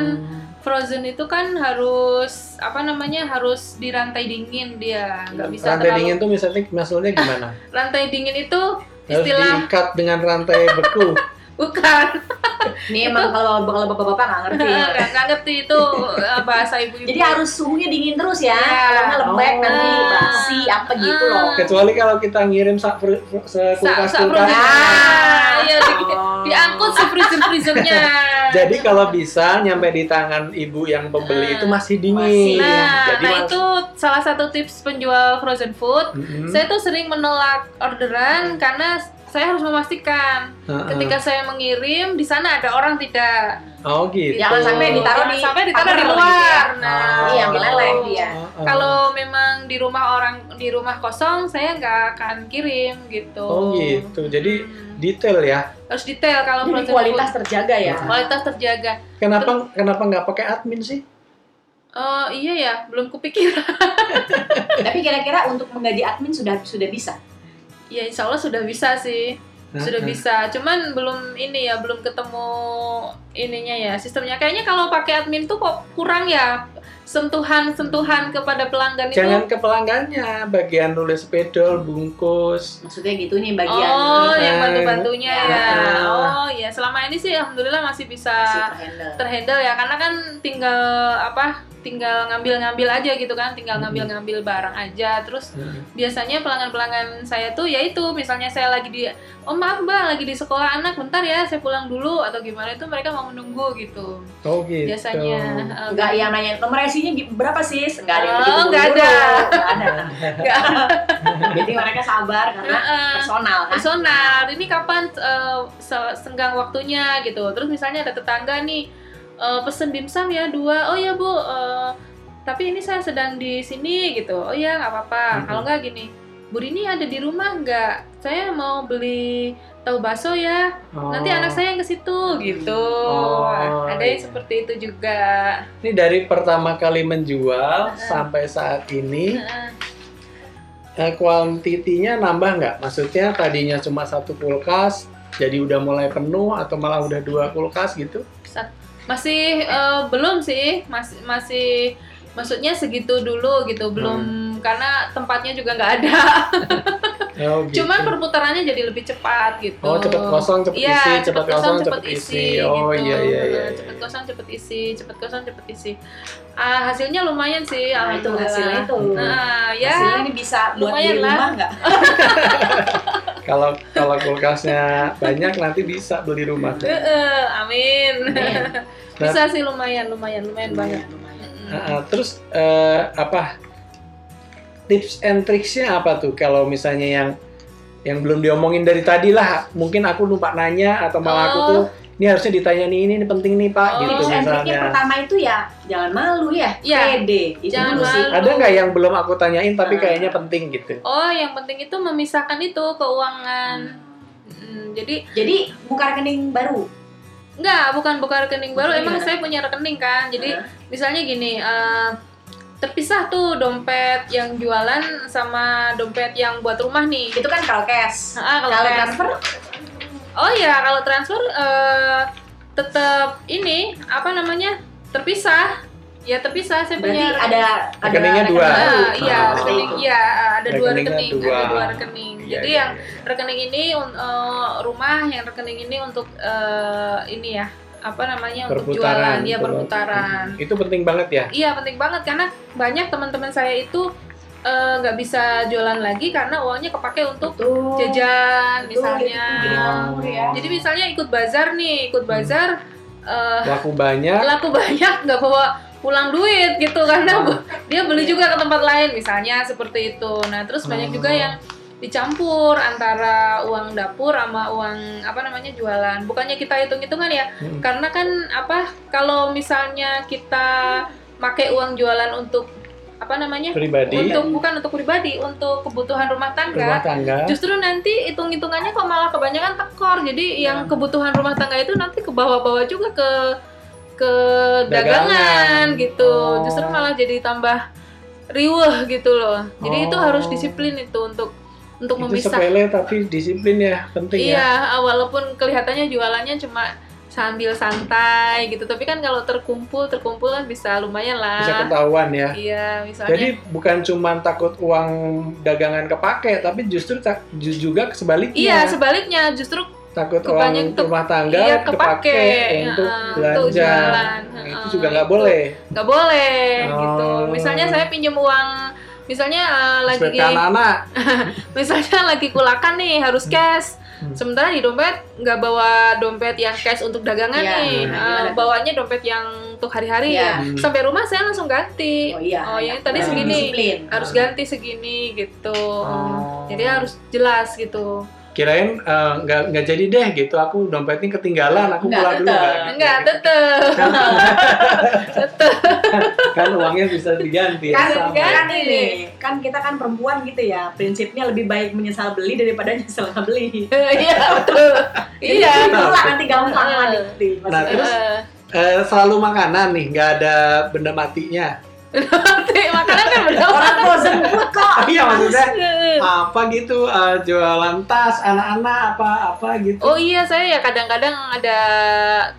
[SPEAKER 3] frozen itu kan harus apa namanya harus dirantai dingin dia nggak bisa
[SPEAKER 1] rantai
[SPEAKER 3] terlalu
[SPEAKER 1] dingin tuh misalnya masalahnya gimana?
[SPEAKER 3] rantai dingin itu
[SPEAKER 1] Harus
[SPEAKER 3] istilah
[SPEAKER 1] diikat dengan rantai beku.
[SPEAKER 3] bukan
[SPEAKER 2] Ini emang kalau kalau bapak-bapak nggak
[SPEAKER 1] Iya.
[SPEAKER 2] ngerti ya.
[SPEAKER 3] nggak nggak ngerti itu eh, bahasa ibu-ibu
[SPEAKER 2] Jadi harus suhunya dingin terus ya.
[SPEAKER 3] Iya.
[SPEAKER 2] Kalau nggak lembek
[SPEAKER 1] Oh.
[SPEAKER 2] nanti basi apa gitu
[SPEAKER 3] Ah.
[SPEAKER 2] loh.
[SPEAKER 1] Kecuali kalau kita ngirim sa- fr- fr-
[SPEAKER 3] Sa-
[SPEAKER 1] sekulkas
[SPEAKER 3] sa-
[SPEAKER 1] kulkas.
[SPEAKER 3] nah, iya, di-
[SPEAKER 2] Oh.
[SPEAKER 3] diangkut si freezer freezernya
[SPEAKER 1] Jadi kalau bisa nyampe di tangan ibu yang pembeli
[SPEAKER 3] Hmm.
[SPEAKER 1] itu masih dingin. Iya.
[SPEAKER 2] Masih.
[SPEAKER 3] nah,
[SPEAKER 1] Jadi
[SPEAKER 3] nah
[SPEAKER 1] mas-
[SPEAKER 3] itu salah satu tips penjual frozen food
[SPEAKER 1] Mm-mm.
[SPEAKER 3] saya tuh sering menolak orderan karena saya harus memastikan
[SPEAKER 1] Heeh.
[SPEAKER 3] ketika saya mengirim di sana ada orang tidak
[SPEAKER 1] Oh gitu.
[SPEAKER 2] Jangan sampai ditaruh
[SPEAKER 3] Jangan
[SPEAKER 2] di
[SPEAKER 3] sampai ditaruh di
[SPEAKER 2] kamar
[SPEAKER 3] luar
[SPEAKER 2] gitu
[SPEAKER 3] nah
[SPEAKER 2] Iya,
[SPEAKER 3] gitu.
[SPEAKER 2] meleleh dia.
[SPEAKER 1] Heeh.
[SPEAKER 3] kalau memang di rumah orang di rumah kosong saya nggak akan kirim gitu
[SPEAKER 1] Oh gitu. Jadi
[SPEAKER 3] Hmm.
[SPEAKER 1] detail ya.
[SPEAKER 3] harus detail kalau
[SPEAKER 2] Jadi
[SPEAKER 3] frozen
[SPEAKER 2] kualitas
[SPEAKER 3] food.
[SPEAKER 2] terjaga ya.
[SPEAKER 3] kualitas terjaga
[SPEAKER 1] Kenapa kenapa nggak pakai admin sih?
[SPEAKER 3] oh iya ya belum kupikiran
[SPEAKER 2] Tapi kira-kira untuk menggaji admin sudah sudah bisa.
[SPEAKER 3] ya insya Allah sudah bisa sih sudah
[SPEAKER 1] Heeh.
[SPEAKER 3] bisa cuman belum ini ya belum ketemu ininya ya sistemnya kayaknya kalau pakai admin tuh kok kurang ya sentuhan sentuhan kepada pelanggan
[SPEAKER 1] Jangan
[SPEAKER 3] itu
[SPEAKER 1] ke pelanggannya, bagian nulis
[SPEAKER 3] Hmm.
[SPEAKER 1] pedal, bungkus.
[SPEAKER 2] Maksudnya gitu nih bagian
[SPEAKER 3] oh
[SPEAKER 1] eh,
[SPEAKER 3] yang bantu bantunya ya
[SPEAKER 1] ah.
[SPEAKER 3] oh ya selama ini sih alhamdulillah masih bisa
[SPEAKER 2] super handle.
[SPEAKER 3] terhandle ya karena kan tinggal apa tinggal ngambil-ngambil aja gitu kan tinggal
[SPEAKER 1] Mhm.
[SPEAKER 3] ngambil-ngambil barang aja terus
[SPEAKER 1] Heeh.
[SPEAKER 3] biasanya pelanggan-pelanggan saya tuh ya itu misalnya saya lagi di oh maaf mbak lagi di sekolah anak bentar ya saya pulang dulu atau gimana itu mereka mau menunggu gitu
[SPEAKER 1] Oh gitu.
[SPEAKER 3] biasanya eh,
[SPEAKER 2] Enggak yang nanya nomor IC-nya berapa sih? Enggak ada yang
[SPEAKER 3] Oh,
[SPEAKER 2] begitu
[SPEAKER 3] nggak
[SPEAKER 2] buru-buru.
[SPEAKER 3] ada.
[SPEAKER 2] Nggak ada.
[SPEAKER 3] nggak- Nah.
[SPEAKER 2] Jadi mereka sabar karena
[SPEAKER 3] Heeh.
[SPEAKER 2] personal kan.
[SPEAKER 3] personal ini kapan eh, se- senggang waktunya gitu terus misalnya ada tetangga nih eh, pesen dimsum ya dua oh ya bu eh, tapi ini saya sedang di sini gitu oh ya nggak apa-apa
[SPEAKER 1] Mhm.
[SPEAKER 3] kalau nggak gini bu ini ada di rumah nggak saya mau beli tahu bakso ya
[SPEAKER 1] Oh.
[SPEAKER 3] nanti anak saya yang ke situ gitu
[SPEAKER 1] Oh,
[SPEAKER 3] ada yang
[SPEAKER 1] iya.
[SPEAKER 3] seperti itu juga
[SPEAKER 1] Ini dari pertama kali menjual
[SPEAKER 3] Hmm.
[SPEAKER 1] sampai saat ini
[SPEAKER 3] Heeh. Hmm.
[SPEAKER 1] eh, kuantitinya nambah nggak? Maksudnya tadinya cuma satu kulkas, jadi udah mulai penuh atau malah udah dua kulkas gitu?
[SPEAKER 3] masih eh, belum sih masih masih maksudnya segitu dulu gitu belum
[SPEAKER 1] Hmm.
[SPEAKER 3] karena tempatnya juga nggak ada
[SPEAKER 1] Oh gitu.
[SPEAKER 3] Cuman perputarannya jadi lebih cepat gitu.
[SPEAKER 1] Oh cepet kosong, cepet
[SPEAKER 3] Iya,
[SPEAKER 1] isi,
[SPEAKER 3] cepet, kosong, cepet
[SPEAKER 1] cepet
[SPEAKER 3] isi.
[SPEAKER 1] Oh
[SPEAKER 3] gitu.
[SPEAKER 1] iya iya iya.
[SPEAKER 3] Nah, Cepet kosong, cepet isi, cepet kosong, cepet isi. Ah, hasilnya lumayan sih,
[SPEAKER 2] Nah, itu
[SPEAKER 3] alhamdulillah.
[SPEAKER 2] hasilnya itu.
[SPEAKER 3] Iya, Nah, ya.
[SPEAKER 2] Hasilnya ini bisa buat di
[SPEAKER 3] lumayan lah.
[SPEAKER 2] rumah nggak?
[SPEAKER 1] Kalau kalau kulkasnya banyak nanti bisa beli rumah.
[SPEAKER 3] Heeh, amin.
[SPEAKER 2] Iya.
[SPEAKER 3] Bisa sih lumayan, lumayan,
[SPEAKER 1] Iya.
[SPEAKER 3] lumayan banget.
[SPEAKER 2] lumayan.
[SPEAKER 3] Mm.
[SPEAKER 1] Nah, terus eh, apa tips and tricksnya apa tuh kalau misalnya yang yang belum diomongin dari tadi lah mungkin aku lupa nanya atau malah aku tuh ini harusnya ditanya nih ini, ini penting nih pak
[SPEAKER 3] Oh,
[SPEAKER 1] gitu
[SPEAKER 2] Tips and trick-nya
[SPEAKER 1] misalnya
[SPEAKER 2] pertama itu ya jangan malu ya,
[SPEAKER 3] Iya.
[SPEAKER 2] pede. Itu
[SPEAKER 3] Jangan
[SPEAKER 2] dulu sih.
[SPEAKER 3] malu.
[SPEAKER 1] ada nggak yang belum aku tanyain tapi
[SPEAKER 2] Hmm.
[SPEAKER 1] kayaknya penting gitu
[SPEAKER 3] Oh, yang penting itu memisahkan itu keuangan.
[SPEAKER 1] Hmm.
[SPEAKER 3] Mm, jadi
[SPEAKER 2] Jadi buka rekening baru.
[SPEAKER 3] Enggak, bukan buka rekening baru.
[SPEAKER 2] Maksudnya
[SPEAKER 3] Emang
[SPEAKER 2] gimana?
[SPEAKER 3] saya punya rekening
[SPEAKER 1] Iya.
[SPEAKER 3] kan. Jadi
[SPEAKER 2] Heeh.
[SPEAKER 3] misalnya gini, eh, terpisah tuh dompet yang jualan sama dompet yang buat rumah nih.
[SPEAKER 2] Itu kan kalau cash.
[SPEAKER 3] Ah,
[SPEAKER 2] Kalau transfer
[SPEAKER 3] Oh ya, kalau transfer eh, tetap ini apa namanya? terpisah. Ya terpisah saya
[SPEAKER 2] berarti
[SPEAKER 3] punya
[SPEAKER 2] ada ada
[SPEAKER 1] Rekeningnya dua.
[SPEAKER 2] rekening baru. Nah,
[SPEAKER 3] Ah, iya,
[SPEAKER 1] Oh.
[SPEAKER 2] Seperti
[SPEAKER 3] rekening,
[SPEAKER 2] itu.
[SPEAKER 3] iya, ada dua
[SPEAKER 1] Rekeningnya
[SPEAKER 3] rekening,
[SPEAKER 1] dua.
[SPEAKER 3] ada dua rekening.
[SPEAKER 1] Iya,
[SPEAKER 3] Jadi
[SPEAKER 1] iya,
[SPEAKER 3] yang rekening ini un- eh, rumah, yang rekening ini untuk eh, ini ya apa namanya untuk
[SPEAKER 1] Perputaran, gitu
[SPEAKER 3] jualan ya
[SPEAKER 1] betul.
[SPEAKER 3] perputaran
[SPEAKER 1] Itu penting banget ya.
[SPEAKER 3] iya penting banget karena banyak teman-teman saya itu eh, nggak bisa jualan lagi karena uangnya kepake untuk
[SPEAKER 2] Tuh. Oh,
[SPEAKER 3] jajan
[SPEAKER 2] Betul,
[SPEAKER 3] misalnya
[SPEAKER 2] gitu. Ya.
[SPEAKER 3] jadi misalnya ikut bazar nih ikut bazar eh,
[SPEAKER 1] Laku banyak.
[SPEAKER 3] laku banyak nggak bawa pulang duit gitu karena bu- dia beli juga ke tempat lain misalnya seperti itu nah terus banyak
[SPEAKER 1] Oh.
[SPEAKER 3] juga yang dicampur antara uang dapur sama uang apa namanya jualan bukannya kita hitung hitungan ya
[SPEAKER 1] Mm.
[SPEAKER 3] karena kan apa kalau misalnya kita pakai uang jualan untuk apa namanya
[SPEAKER 1] pribadi
[SPEAKER 3] untuk bukan untuk pribadi untuk kebutuhan rumah tangga
[SPEAKER 1] rumah tangga.
[SPEAKER 3] Justru nanti hitung-hitungannya kok malah kebanyakan tekor.
[SPEAKER 1] Iya.
[SPEAKER 3] Jadi yang kebutuhan rumah tangga itu nanti ke bawah-bawah juga ke ke dagangan,
[SPEAKER 1] Dagangan.
[SPEAKER 3] gitu.
[SPEAKER 1] Oh.
[SPEAKER 3] Justru malah jadi tambah riweh gitu loh. Jadi itu
[SPEAKER 1] Oh.
[SPEAKER 3] harus disiplin itu untuk untuk
[SPEAKER 1] Itu
[SPEAKER 3] memisah.
[SPEAKER 1] sepele tapi disiplin ya, penting ya.
[SPEAKER 3] Iya, ah, walaupun kelihatannya jualannya cuma sambil santai gitu, tapi kan kalau terkumpul terkumpul kan bisa lumayan lah.
[SPEAKER 1] Bisa ketahuan ya.
[SPEAKER 3] Iya, misalnya.
[SPEAKER 1] Jadi bukan cuman takut uang dagangan kepake, tapi justru tak, ju- juga
[SPEAKER 3] iya,
[SPEAKER 1] sebaliknya.
[SPEAKER 3] sebaliknya justru
[SPEAKER 1] takut uang
[SPEAKER 3] kebanyak tuh-
[SPEAKER 1] rumah tangga
[SPEAKER 3] iya,
[SPEAKER 1] kepake,
[SPEAKER 3] kepake,
[SPEAKER 1] untuk
[SPEAKER 3] heeh, untuk
[SPEAKER 1] belanja.
[SPEAKER 3] jualan,
[SPEAKER 1] Nah, itu
[SPEAKER 3] heeh,
[SPEAKER 1] juga nggak
[SPEAKER 3] itu.
[SPEAKER 1] boleh.
[SPEAKER 3] nggak boleh
[SPEAKER 1] Oh.
[SPEAKER 3] gitu. Misalnya saya pinjam uang, misalnya eh, lagi
[SPEAKER 1] Sebagai kan anak-anak.
[SPEAKER 3] misalnya lagi kulakan nih harus cash.
[SPEAKER 1] Hmm.
[SPEAKER 3] Sementara di dompet nggak bawa dompet yang cash untuk dagangan
[SPEAKER 2] Iya,
[SPEAKER 3] nih,
[SPEAKER 1] nah,
[SPEAKER 3] Eh,
[SPEAKER 2] gimana tuh?
[SPEAKER 3] bawanya dompet yang untuk hari-hari
[SPEAKER 2] Iya.
[SPEAKER 3] ya.
[SPEAKER 1] Hmm.
[SPEAKER 3] Sampai rumah saya langsung ganti.
[SPEAKER 2] Oh iya.
[SPEAKER 3] Oh, yang tadi
[SPEAKER 2] Harus
[SPEAKER 3] segini.
[SPEAKER 2] Disiplin.
[SPEAKER 3] Harus ganti segini gitu.
[SPEAKER 1] Oh.
[SPEAKER 3] Jadi harus jelas gitu.
[SPEAKER 1] Kirain eh, nggak nggak jadi deh gitu. Aku dompetnya ketinggalan. Aku
[SPEAKER 2] Nggak,
[SPEAKER 1] pulang dulu.
[SPEAKER 2] tetep.
[SPEAKER 1] nggak gitu.
[SPEAKER 3] Enggak, tetep. tetep.
[SPEAKER 1] kan uangnya bisa diganti.
[SPEAKER 2] Kan,
[SPEAKER 1] sama.
[SPEAKER 3] ganti.
[SPEAKER 2] kan ini, kan kita kan perempuan gitu ya, prinsipnya lebih baik menyesal beli daripada nyesel nggak beli.
[SPEAKER 3] Iya, betul. Iya.
[SPEAKER 2] Jadi lah nanti gampang lah
[SPEAKER 3] Heeh.
[SPEAKER 2] dibeli.
[SPEAKER 1] Nah,
[SPEAKER 2] Maksudnya.
[SPEAKER 1] terus?
[SPEAKER 3] Eh.
[SPEAKER 1] Eh, selalu makanan nih, nggak ada benda matinya.
[SPEAKER 3] Nanti makanan kan
[SPEAKER 2] orang frozen food kok.
[SPEAKER 1] iya maksudnya
[SPEAKER 3] berdaulat.
[SPEAKER 1] apa gitu eh, jualan tas anak-anak apa apa gitu.
[SPEAKER 3] Oh iya saya ya kadang-kadang ada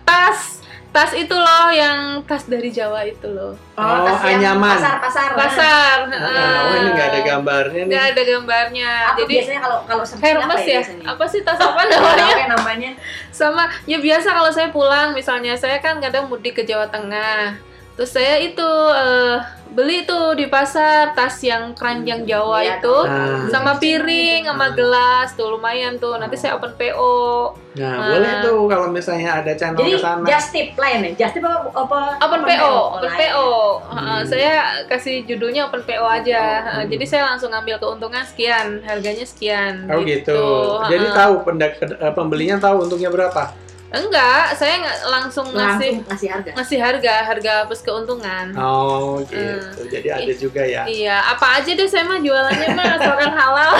[SPEAKER 3] tas tas itu loh yang tas dari Jawa itu loh
[SPEAKER 1] Oh,
[SPEAKER 2] tas yang
[SPEAKER 1] anyaman.
[SPEAKER 2] Pasar, pasar.
[SPEAKER 3] pasar
[SPEAKER 1] Nah, oh, ini nggak ada
[SPEAKER 3] eh,
[SPEAKER 1] gambarnya nih.
[SPEAKER 3] Nggak ada gambarnya
[SPEAKER 2] Aku
[SPEAKER 3] jadi
[SPEAKER 2] biasanya kalau kalau searching
[SPEAKER 3] Hermes ya
[SPEAKER 2] biasanya?
[SPEAKER 3] apa sih tas apa
[SPEAKER 2] Nggak tahu
[SPEAKER 3] namanya
[SPEAKER 2] kayak namanya.
[SPEAKER 3] sama ya biasa kalau saya pulang misalnya saya kan kadang mudik ke Jawa Tengah terus saya itu eh, beli tuh di pasar tas yang keranjang Jawa
[SPEAKER 2] Iya,
[SPEAKER 3] itu
[SPEAKER 1] Nah,
[SPEAKER 3] sama piring sama
[SPEAKER 1] Hmm.
[SPEAKER 3] gelas tuh lumayan tuh nanti saya open PO
[SPEAKER 1] nah,
[SPEAKER 3] Ah.
[SPEAKER 1] boleh tuh kalau misalnya ada channel
[SPEAKER 2] Jadi
[SPEAKER 1] ke sana.
[SPEAKER 2] just tip lain ya, just tip apa? apa
[SPEAKER 3] Open PO, Open
[SPEAKER 2] lain.
[SPEAKER 3] PO.
[SPEAKER 1] Hmm.
[SPEAKER 3] Uh, saya kasih judulnya Open PO aja. Uh, Jadi saya langsung ngambil keuntungan sekian, harganya sekian.
[SPEAKER 1] Oh gitu. Jadi
[SPEAKER 3] Uh,
[SPEAKER 1] tahu pendak- eh, pembelinya tahu untungnya berapa.
[SPEAKER 3] enggak, saya nggak langsung
[SPEAKER 2] Langsung
[SPEAKER 3] ngasih
[SPEAKER 2] ngasih harga.
[SPEAKER 3] ngasih harga, harga plus keuntungan.
[SPEAKER 1] Oh gitu. Jadi ada juga ya.
[SPEAKER 3] Hmm. Iya, apa aja deh saya mah jualannya mah asalkan halal.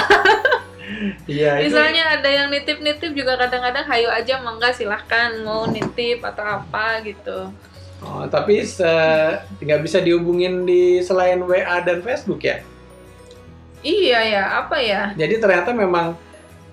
[SPEAKER 1] Iya. itu-
[SPEAKER 3] Misalnya ada yang nitip-nitip juga kadang-kadang hayu aja mangga silahkan mau nitip atau apa gitu.
[SPEAKER 1] Oh, tapi se- nggak bisa dihubungin di selain WA dan Facebook ya.
[SPEAKER 3] Iya ya, apa ya?
[SPEAKER 1] Jadi ternyata memang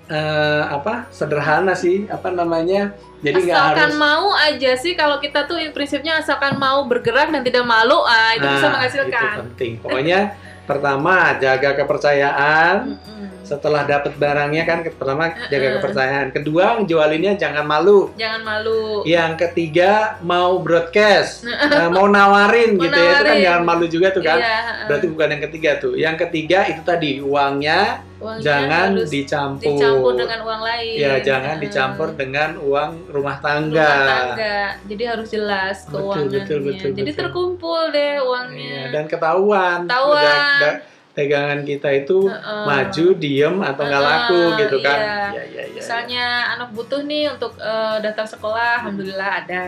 [SPEAKER 1] eh, apa sederhana sih apa namanya. Jadi nggak
[SPEAKER 3] asalkan
[SPEAKER 1] harus.
[SPEAKER 3] mau aja sih kalau kita tuh prinsipnya asalkan mau bergerak dan tidak malu ah itu bisa
[SPEAKER 1] Nah,
[SPEAKER 3] menghasilkan
[SPEAKER 1] Itu penting. Pokoknya pertama jaga kepercayaan.
[SPEAKER 3] Mm-mm.
[SPEAKER 1] Setelah dapat barangnya kan ke- pertama
[SPEAKER 3] Mm-mm.
[SPEAKER 1] jaga kepercayaan. Kedua jualinnya jangan malu.
[SPEAKER 3] jangan malu
[SPEAKER 1] Yang ketiga mau broadcast, Eh, mau nawarin
[SPEAKER 3] Mau
[SPEAKER 1] gitu ya. Itu kan
[SPEAKER 3] nawarin.
[SPEAKER 1] jangan malu juga tuh kan.
[SPEAKER 3] Iya,
[SPEAKER 1] Berarti bukan yang ketiga tuh. Yang ketiga itu tadi uangnya
[SPEAKER 3] uangnya
[SPEAKER 1] jangan
[SPEAKER 3] harus
[SPEAKER 1] dicampur.
[SPEAKER 3] dicampur dengan uang lain
[SPEAKER 1] ya, jangan
[SPEAKER 3] Mm.
[SPEAKER 1] dicampur dengan uang rumah tangga.
[SPEAKER 3] Rumah tangga. jadi harus jelas
[SPEAKER 1] Betul,
[SPEAKER 3] keuangannya
[SPEAKER 1] betul, betul,
[SPEAKER 3] jadi
[SPEAKER 1] betul.
[SPEAKER 3] terkumpul deh
[SPEAKER 1] Iya,
[SPEAKER 3] uangnya
[SPEAKER 1] dan ketahuan.
[SPEAKER 3] Ketahuan.
[SPEAKER 1] Da- da- dagangan kita itu
[SPEAKER 3] Heeh.
[SPEAKER 1] maju, diem atau nggak
[SPEAKER 3] Heeh,
[SPEAKER 1] laku gitu kan.
[SPEAKER 3] iya.
[SPEAKER 1] Iya, iya, iya, iya.
[SPEAKER 3] misalnya anak butuh nih untuk eh, daftar sekolah alhamdulillah ada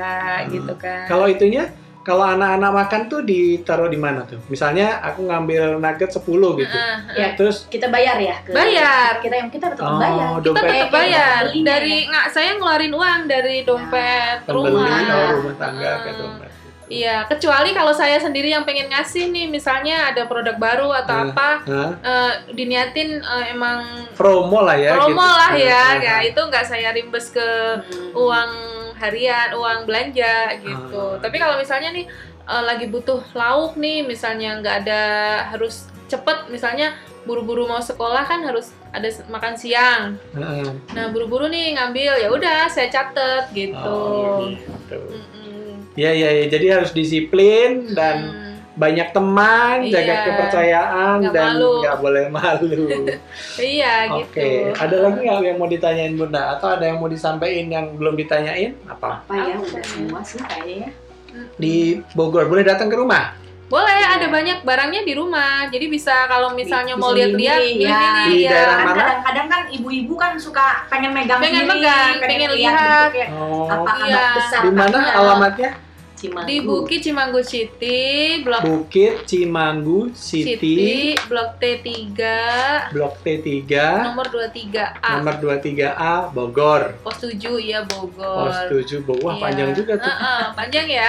[SPEAKER 1] Hmm.
[SPEAKER 3] gitu kan
[SPEAKER 1] Kalau itunya kalau anak-anak makan tuh ditaruh di mana tuh? Misalnya aku ngambil nugget 10 gitu.
[SPEAKER 3] Heeh.
[SPEAKER 2] Ya,
[SPEAKER 1] Terus
[SPEAKER 2] kita bayar ya ke
[SPEAKER 3] Bayar.
[SPEAKER 2] kita yang kita tetap
[SPEAKER 1] Oh,
[SPEAKER 2] bayar.
[SPEAKER 1] dompet.
[SPEAKER 3] kita tetap
[SPEAKER 1] Kayak
[SPEAKER 3] bayar
[SPEAKER 2] belinya
[SPEAKER 3] dari nggak saya ngeluarin uang
[SPEAKER 1] Ya,
[SPEAKER 3] dari dompet
[SPEAKER 1] pembeli
[SPEAKER 3] rumah
[SPEAKER 1] oh, rumah tangga
[SPEAKER 3] Heeh.
[SPEAKER 1] ke dompet.
[SPEAKER 3] iya kecuali kalau saya sendiri yang pengen ngasih nih misalnya ada produk baru atau
[SPEAKER 1] Hmm.
[SPEAKER 3] apa
[SPEAKER 1] Hah?
[SPEAKER 3] eh, diniatin eh, emang
[SPEAKER 1] Promo lah ya gitu.
[SPEAKER 3] promo lah ya
[SPEAKER 1] Heeh.
[SPEAKER 3] ya itu nggak saya rimbes ke
[SPEAKER 2] Hmm.
[SPEAKER 3] uang harian uang belanja
[SPEAKER 1] Ah.
[SPEAKER 3] gitu tapi kalau misalnya nih eh, eh, lagi butuh lauk nih misalnya nggak ada harus cepet misalnya buru-buru mau sekolah kan harus ada s- makan siang
[SPEAKER 1] Heeh.
[SPEAKER 3] nah buru-buru nih ngambil ya udah saya catet gitu
[SPEAKER 1] Oh, gitu.
[SPEAKER 3] Mm-mm.
[SPEAKER 1] Iya iya iya. jadi harus disiplin dan
[SPEAKER 3] Mm.
[SPEAKER 1] banyak teman, jaga
[SPEAKER 3] Iya.
[SPEAKER 1] kepercayaan
[SPEAKER 3] Nggak
[SPEAKER 1] dan
[SPEAKER 3] malu.
[SPEAKER 1] nggak boleh malu.
[SPEAKER 3] iya
[SPEAKER 1] Oke,
[SPEAKER 3] gitu
[SPEAKER 1] ada lagi nggak yang mau ditanyain bunda atau ada yang mau disampaikan yang belum ditanyain apa?
[SPEAKER 2] apa ya
[SPEAKER 3] Apa
[SPEAKER 2] udah
[SPEAKER 3] ya?
[SPEAKER 2] semua sih kayaknya ya
[SPEAKER 1] Di Bogor boleh datang ke rumah
[SPEAKER 3] boleh
[SPEAKER 2] Iya.
[SPEAKER 3] ada banyak barangnya di rumah jadi bisa kalau misalnya
[SPEAKER 2] Bisa
[SPEAKER 3] mau lihat-lihat
[SPEAKER 2] milih-milih, ya.
[SPEAKER 3] milih-milih,
[SPEAKER 1] Di
[SPEAKER 3] ya.
[SPEAKER 1] daerah
[SPEAKER 2] kan
[SPEAKER 1] Mana?
[SPEAKER 2] kadang-kadang kan ibu-ibu kan suka pengen megang
[SPEAKER 3] Pengen
[SPEAKER 2] sendiri,
[SPEAKER 3] megang, pengen lihat.
[SPEAKER 2] bentuknya.
[SPEAKER 1] Oh,
[SPEAKER 2] apa
[SPEAKER 3] iya.
[SPEAKER 2] anak besar
[SPEAKER 1] di mana
[SPEAKER 2] apa-
[SPEAKER 1] alamatnya?
[SPEAKER 2] Cimanggu.
[SPEAKER 3] di Bukit Cimanggu City Blok
[SPEAKER 1] Bukit Cimanggu City,
[SPEAKER 3] City, Blok T3,
[SPEAKER 1] Blok T3,
[SPEAKER 3] nomor 23A,
[SPEAKER 1] nomor 23A Bogor.
[SPEAKER 3] pos 7 ya Bogor.
[SPEAKER 1] Pos 7 Bogor. Wah,
[SPEAKER 3] Iya.
[SPEAKER 1] panjang juga tuh.
[SPEAKER 3] Heeh, panjang ya.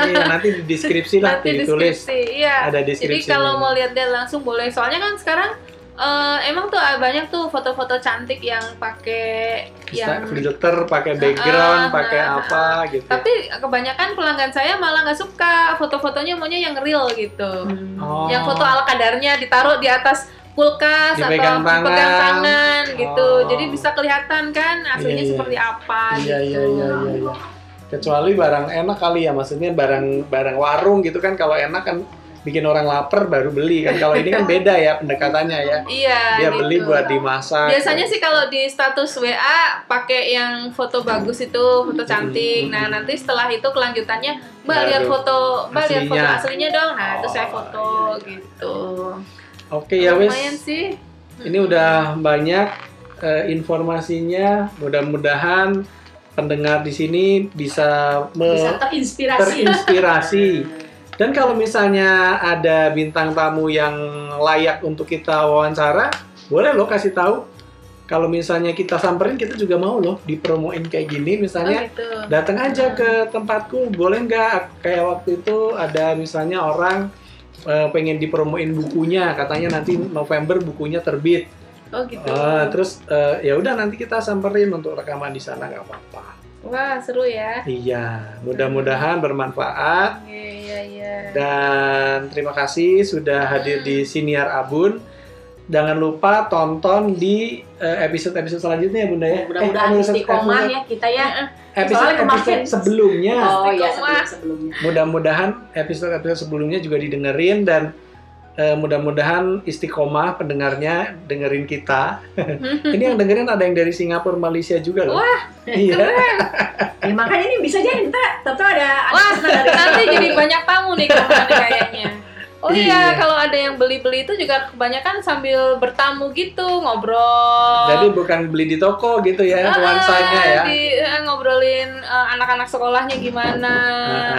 [SPEAKER 1] Iya, nanti di deskripsi lah
[SPEAKER 3] Nanti
[SPEAKER 1] ditulis.
[SPEAKER 3] deskripsi, iya.
[SPEAKER 1] Ada
[SPEAKER 3] Jadi
[SPEAKER 1] deskripsi.
[SPEAKER 3] kalau mau lihat dia langsung boleh. Soalnya kan sekarang eh, emang tuh ah, banyak tuh foto-foto cantik yang pakai yang
[SPEAKER 1] filter pakai background,
[SPEAKER 3] Heeh,
[SPEAKER 1] pakai
[SPEAKER 3] heeh,
[SPEAKER 1] apa gitu.
[SPEAKER 3] tapi kebanyakan pelanggan saya malah nggak suka foto-fotonya maunya yang real gitu.
[SPEAKER 2] Hmm.
[SPEAKER 1] Oh.
[SPEAKER 3] Yang foto ala kadarnya ditaruh di atas kulkas
[SPEAKER 1] Dipegang
[SPEAKER 3] atau dipegang
[SPEAKER 1] tangan.
[SPEAKER 3] tangan gitu.
[SPEAKER 1] Oh.
[SPEAKER 3] Jadi bisa kelihatan kan aslinya
[SPEAKER 1] Iya, iya.
[SPEAKER 3] seperti apa
[SPEAKER 1] Iya
[SPEAKER 3] gitu.
[SPEAKER 1] iya iya iya. iya. Kecuali barang enak kali ya, maksudnya barang barang warung gitu kan kalau enak kan bikin orang lapar baru beli kan. Kalau ini kan beda ya pendekatannya ya.
[SPEAKER 3] Iya.
[SPEAKER 1] Dia
[SPEAKER 3] gitu.
[SPEAKER 1] beli buat dimasak.
[SPEAKER 3] Biasanya sih kalau di status WA pakai yang foto bagus itu, foto
[SPEAKER 1] Mm-hmm.
[SPEAKER 3] cantik. Nah, nanti setelah itu kelanjutannya, Mbak
[SPEAKER 1] Baru.
[SPEAKER 3] lihat foto, Mbak lihat foto
[SPEAKER 1] Iya, Aslinya.
[SPEAKER 3] aslinya dong. Nah, itu
[SPEAKER 1] Oh,
[SPEAKER 3] saya foto
[SPEAKER 1] iya, iya.
[SPEAKER 3] gitu.
[SPEAKER 1] Oke ya wes.
[SPEAKER 3] Lumayan sih.
[SPEAKER 1] Ini udah banyak eh, informasinya. Mudah-mudahan pendengar di sini bisa, me-
[SPEAKER 2] bisa terinspirasi
[SPEAKER 1] terinspirasi. Dan kalau misalnya ada bintang tamu yang layak untuk kita wawancara, boleh lo kasih tahu. Kalau misalnya kita samperin, kita juga mau loh dipromoin kayak gini.
[SPEAKER 3] Oh,
[SPEAKER 1] Misalnya
[SPEAKER 3] gitu.
[SPEAKER 1] datang aja ke tempatku, boleh nggak? Kayak waktu itu ada misalnya orang eh, pengen dipromoin bukunya, katanya nanti November bukunya terbit.
[SPEAKER 3] Oh, gitu.
[SPEAKER 1] Ah, terus eh, ya udah nanti kita samperin untuk rekaman di sana nggak apa-apa.
[SPEAKER 3] Wah, seru ya.
[SPEAKER 1] Iya, mudah-mudahan bermanfaat
[SPEAKER 3] Iya, iya, iya.
[SPEAKER 1] dan terima kasih sudah hadir di Siniar Abun. Jangan lupa tonton di eh, episode-episode selanjutnya ya Bunda ya.
[SPEAKER 2] mudah-mudahan
[SPEAKER 1] Eh, episode-
[SPEAKER 2] istiqomah ya kita ya
[SPEAKER 1] Episode,
[SPEAKER 2] Soalnya
[SPEAKER 1] episode
[SPEAKER 2] kemarin-
[SPEAKER 1] sebelumnya.
[SPEAKER 2] oh ya
[SPEAKER 3] Istiqomah.
[SPEAKER 2] sebelum sebelumnya Oh.
[SPEAKER 1] Mudah-mudahan episode-episode sebelumnya juga didengerin dan eh, mudah-mudahan istiqomah pendengarnya dengerin kita. Ini yang dengerin ada yang dari Singapura, Malaysia juga loh. Wah, iya.
[SPEAKER 2] ya, makanya ini bisa jadi kita tentu ada
[SPEAKER 3] Wah, nanti jadi banyak tamu nih ke rumah nih kayaknya. Oh iya,
[SPEAKER 1] Iya.
[SPEAKER 3] kalau ada yang beli-beli itu juga kebanyakan sambil bertamu gitu, ngobrol.
[SPEAKER 1] Jadi bukan beli di toko gitu ya,
[SPEAKER 3] Ah,
[SPEAKER 1] nuansanya ya.
[SPEAKER 3] di- eh, ngobrolin eh, anak-anak sekolahnya gimana,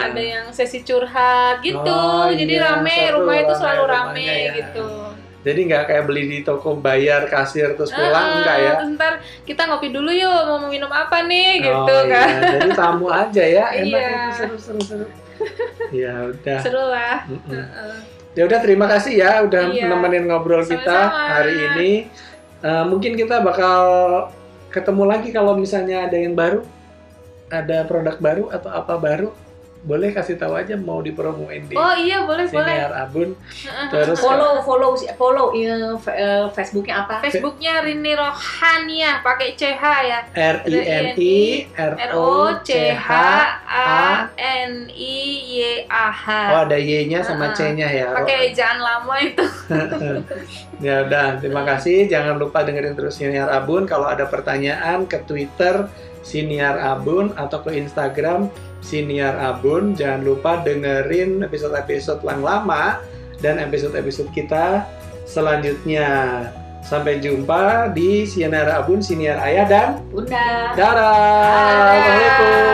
[SPEAKER 1] Ah.
[SPEAKER 3] ada yang sesi curhat gitu.
[SPEAKER 1] Oh,
[SPEAKER 3] Jadi
[SPEAKER 1] iya,
[SPEAKER 3] rame,
[SPEAKER 1] seru,
[SPEAKER 3] rumah itu
[SPEAKER 1] rame
[SPEAKER 3] selalu rame
[SPEAKER 1] rumahnya ya.
[SPEAKER 3] gitu.
[SPEAKER 1] Jadi nggak kayak beli di toko bayar kasir terus pulang
[SPEAKER 3] Ah,
[SPEAKER 1] enggak ya.
[SPEAKER 3] Terus ntar kita ngopi dulu yuk, mau minum apa nih gitu
[SPEAKER 1] Oh,
[SPEAKER 3] kan.
[SPEAKER 1] iya. Jadi tamu aja ya, enak
[SPEAKER 3] Iya.
[SPEAKER 1] itu seru seru seru. Ya udah.
[SPEAKER 3] Seru lah.
[SPEAKER 1] Mm-mm.
[SPEAKER 3] Heeh.
[SPEAKER 1] Ya udah terima kasih ya udah
[SPEAKER 3] Iya.
[SPEAKER 1] nemenin ngobrol kita
[SPEAKER 3] Sama-sama.
[SPEAKER 1] hari ini. Eh, mungkin kita bakal ketemu lagi kalau misalnya ada yang baru, ada produk baru atau apa baru, boleh kasih tahu aja mau dipromoin di
[SPEAKER 3] Oh iya, boleh, boleh.
[SPEAKER 1] Siniar Abun. Terus
[SPEAKER 2] follow follow follow eh, f- eh, Facebooknya apa
[SPEAKER 3] Facebooknya Rini Rohania pakai CH ya.
[SPEAKER 1] R I N I R
[SPEAKER 3] R
[SPEAKER 1] O
[SPEAKER 3] O Oh, C H A N I Y A H.
[SPEAKER 1] Oh ada Y-nya sama
[SPEAKER 3] Uh-uh.
[SPEAKER 1] C-nya ya.
[SPEAKER 3] Pakai ejaan lama itu.
[SPEAKER 1] ya udah, terima kasih. Jangan lupa dengerin terus Siniar Abun. Kalau ada pertanyaan ke Twitter Siniar Abun atau ke Instagram Siniar Abun. Jangan lupa dengerin episode-episode yang lama dan episode-episode kita selanjutnya. Sampai jumpa di Siniar Abun, Siniar Ayah dan
[SPEAKER 2] Bunda
[SPEAKER 1] Dara. Assalamualaikum.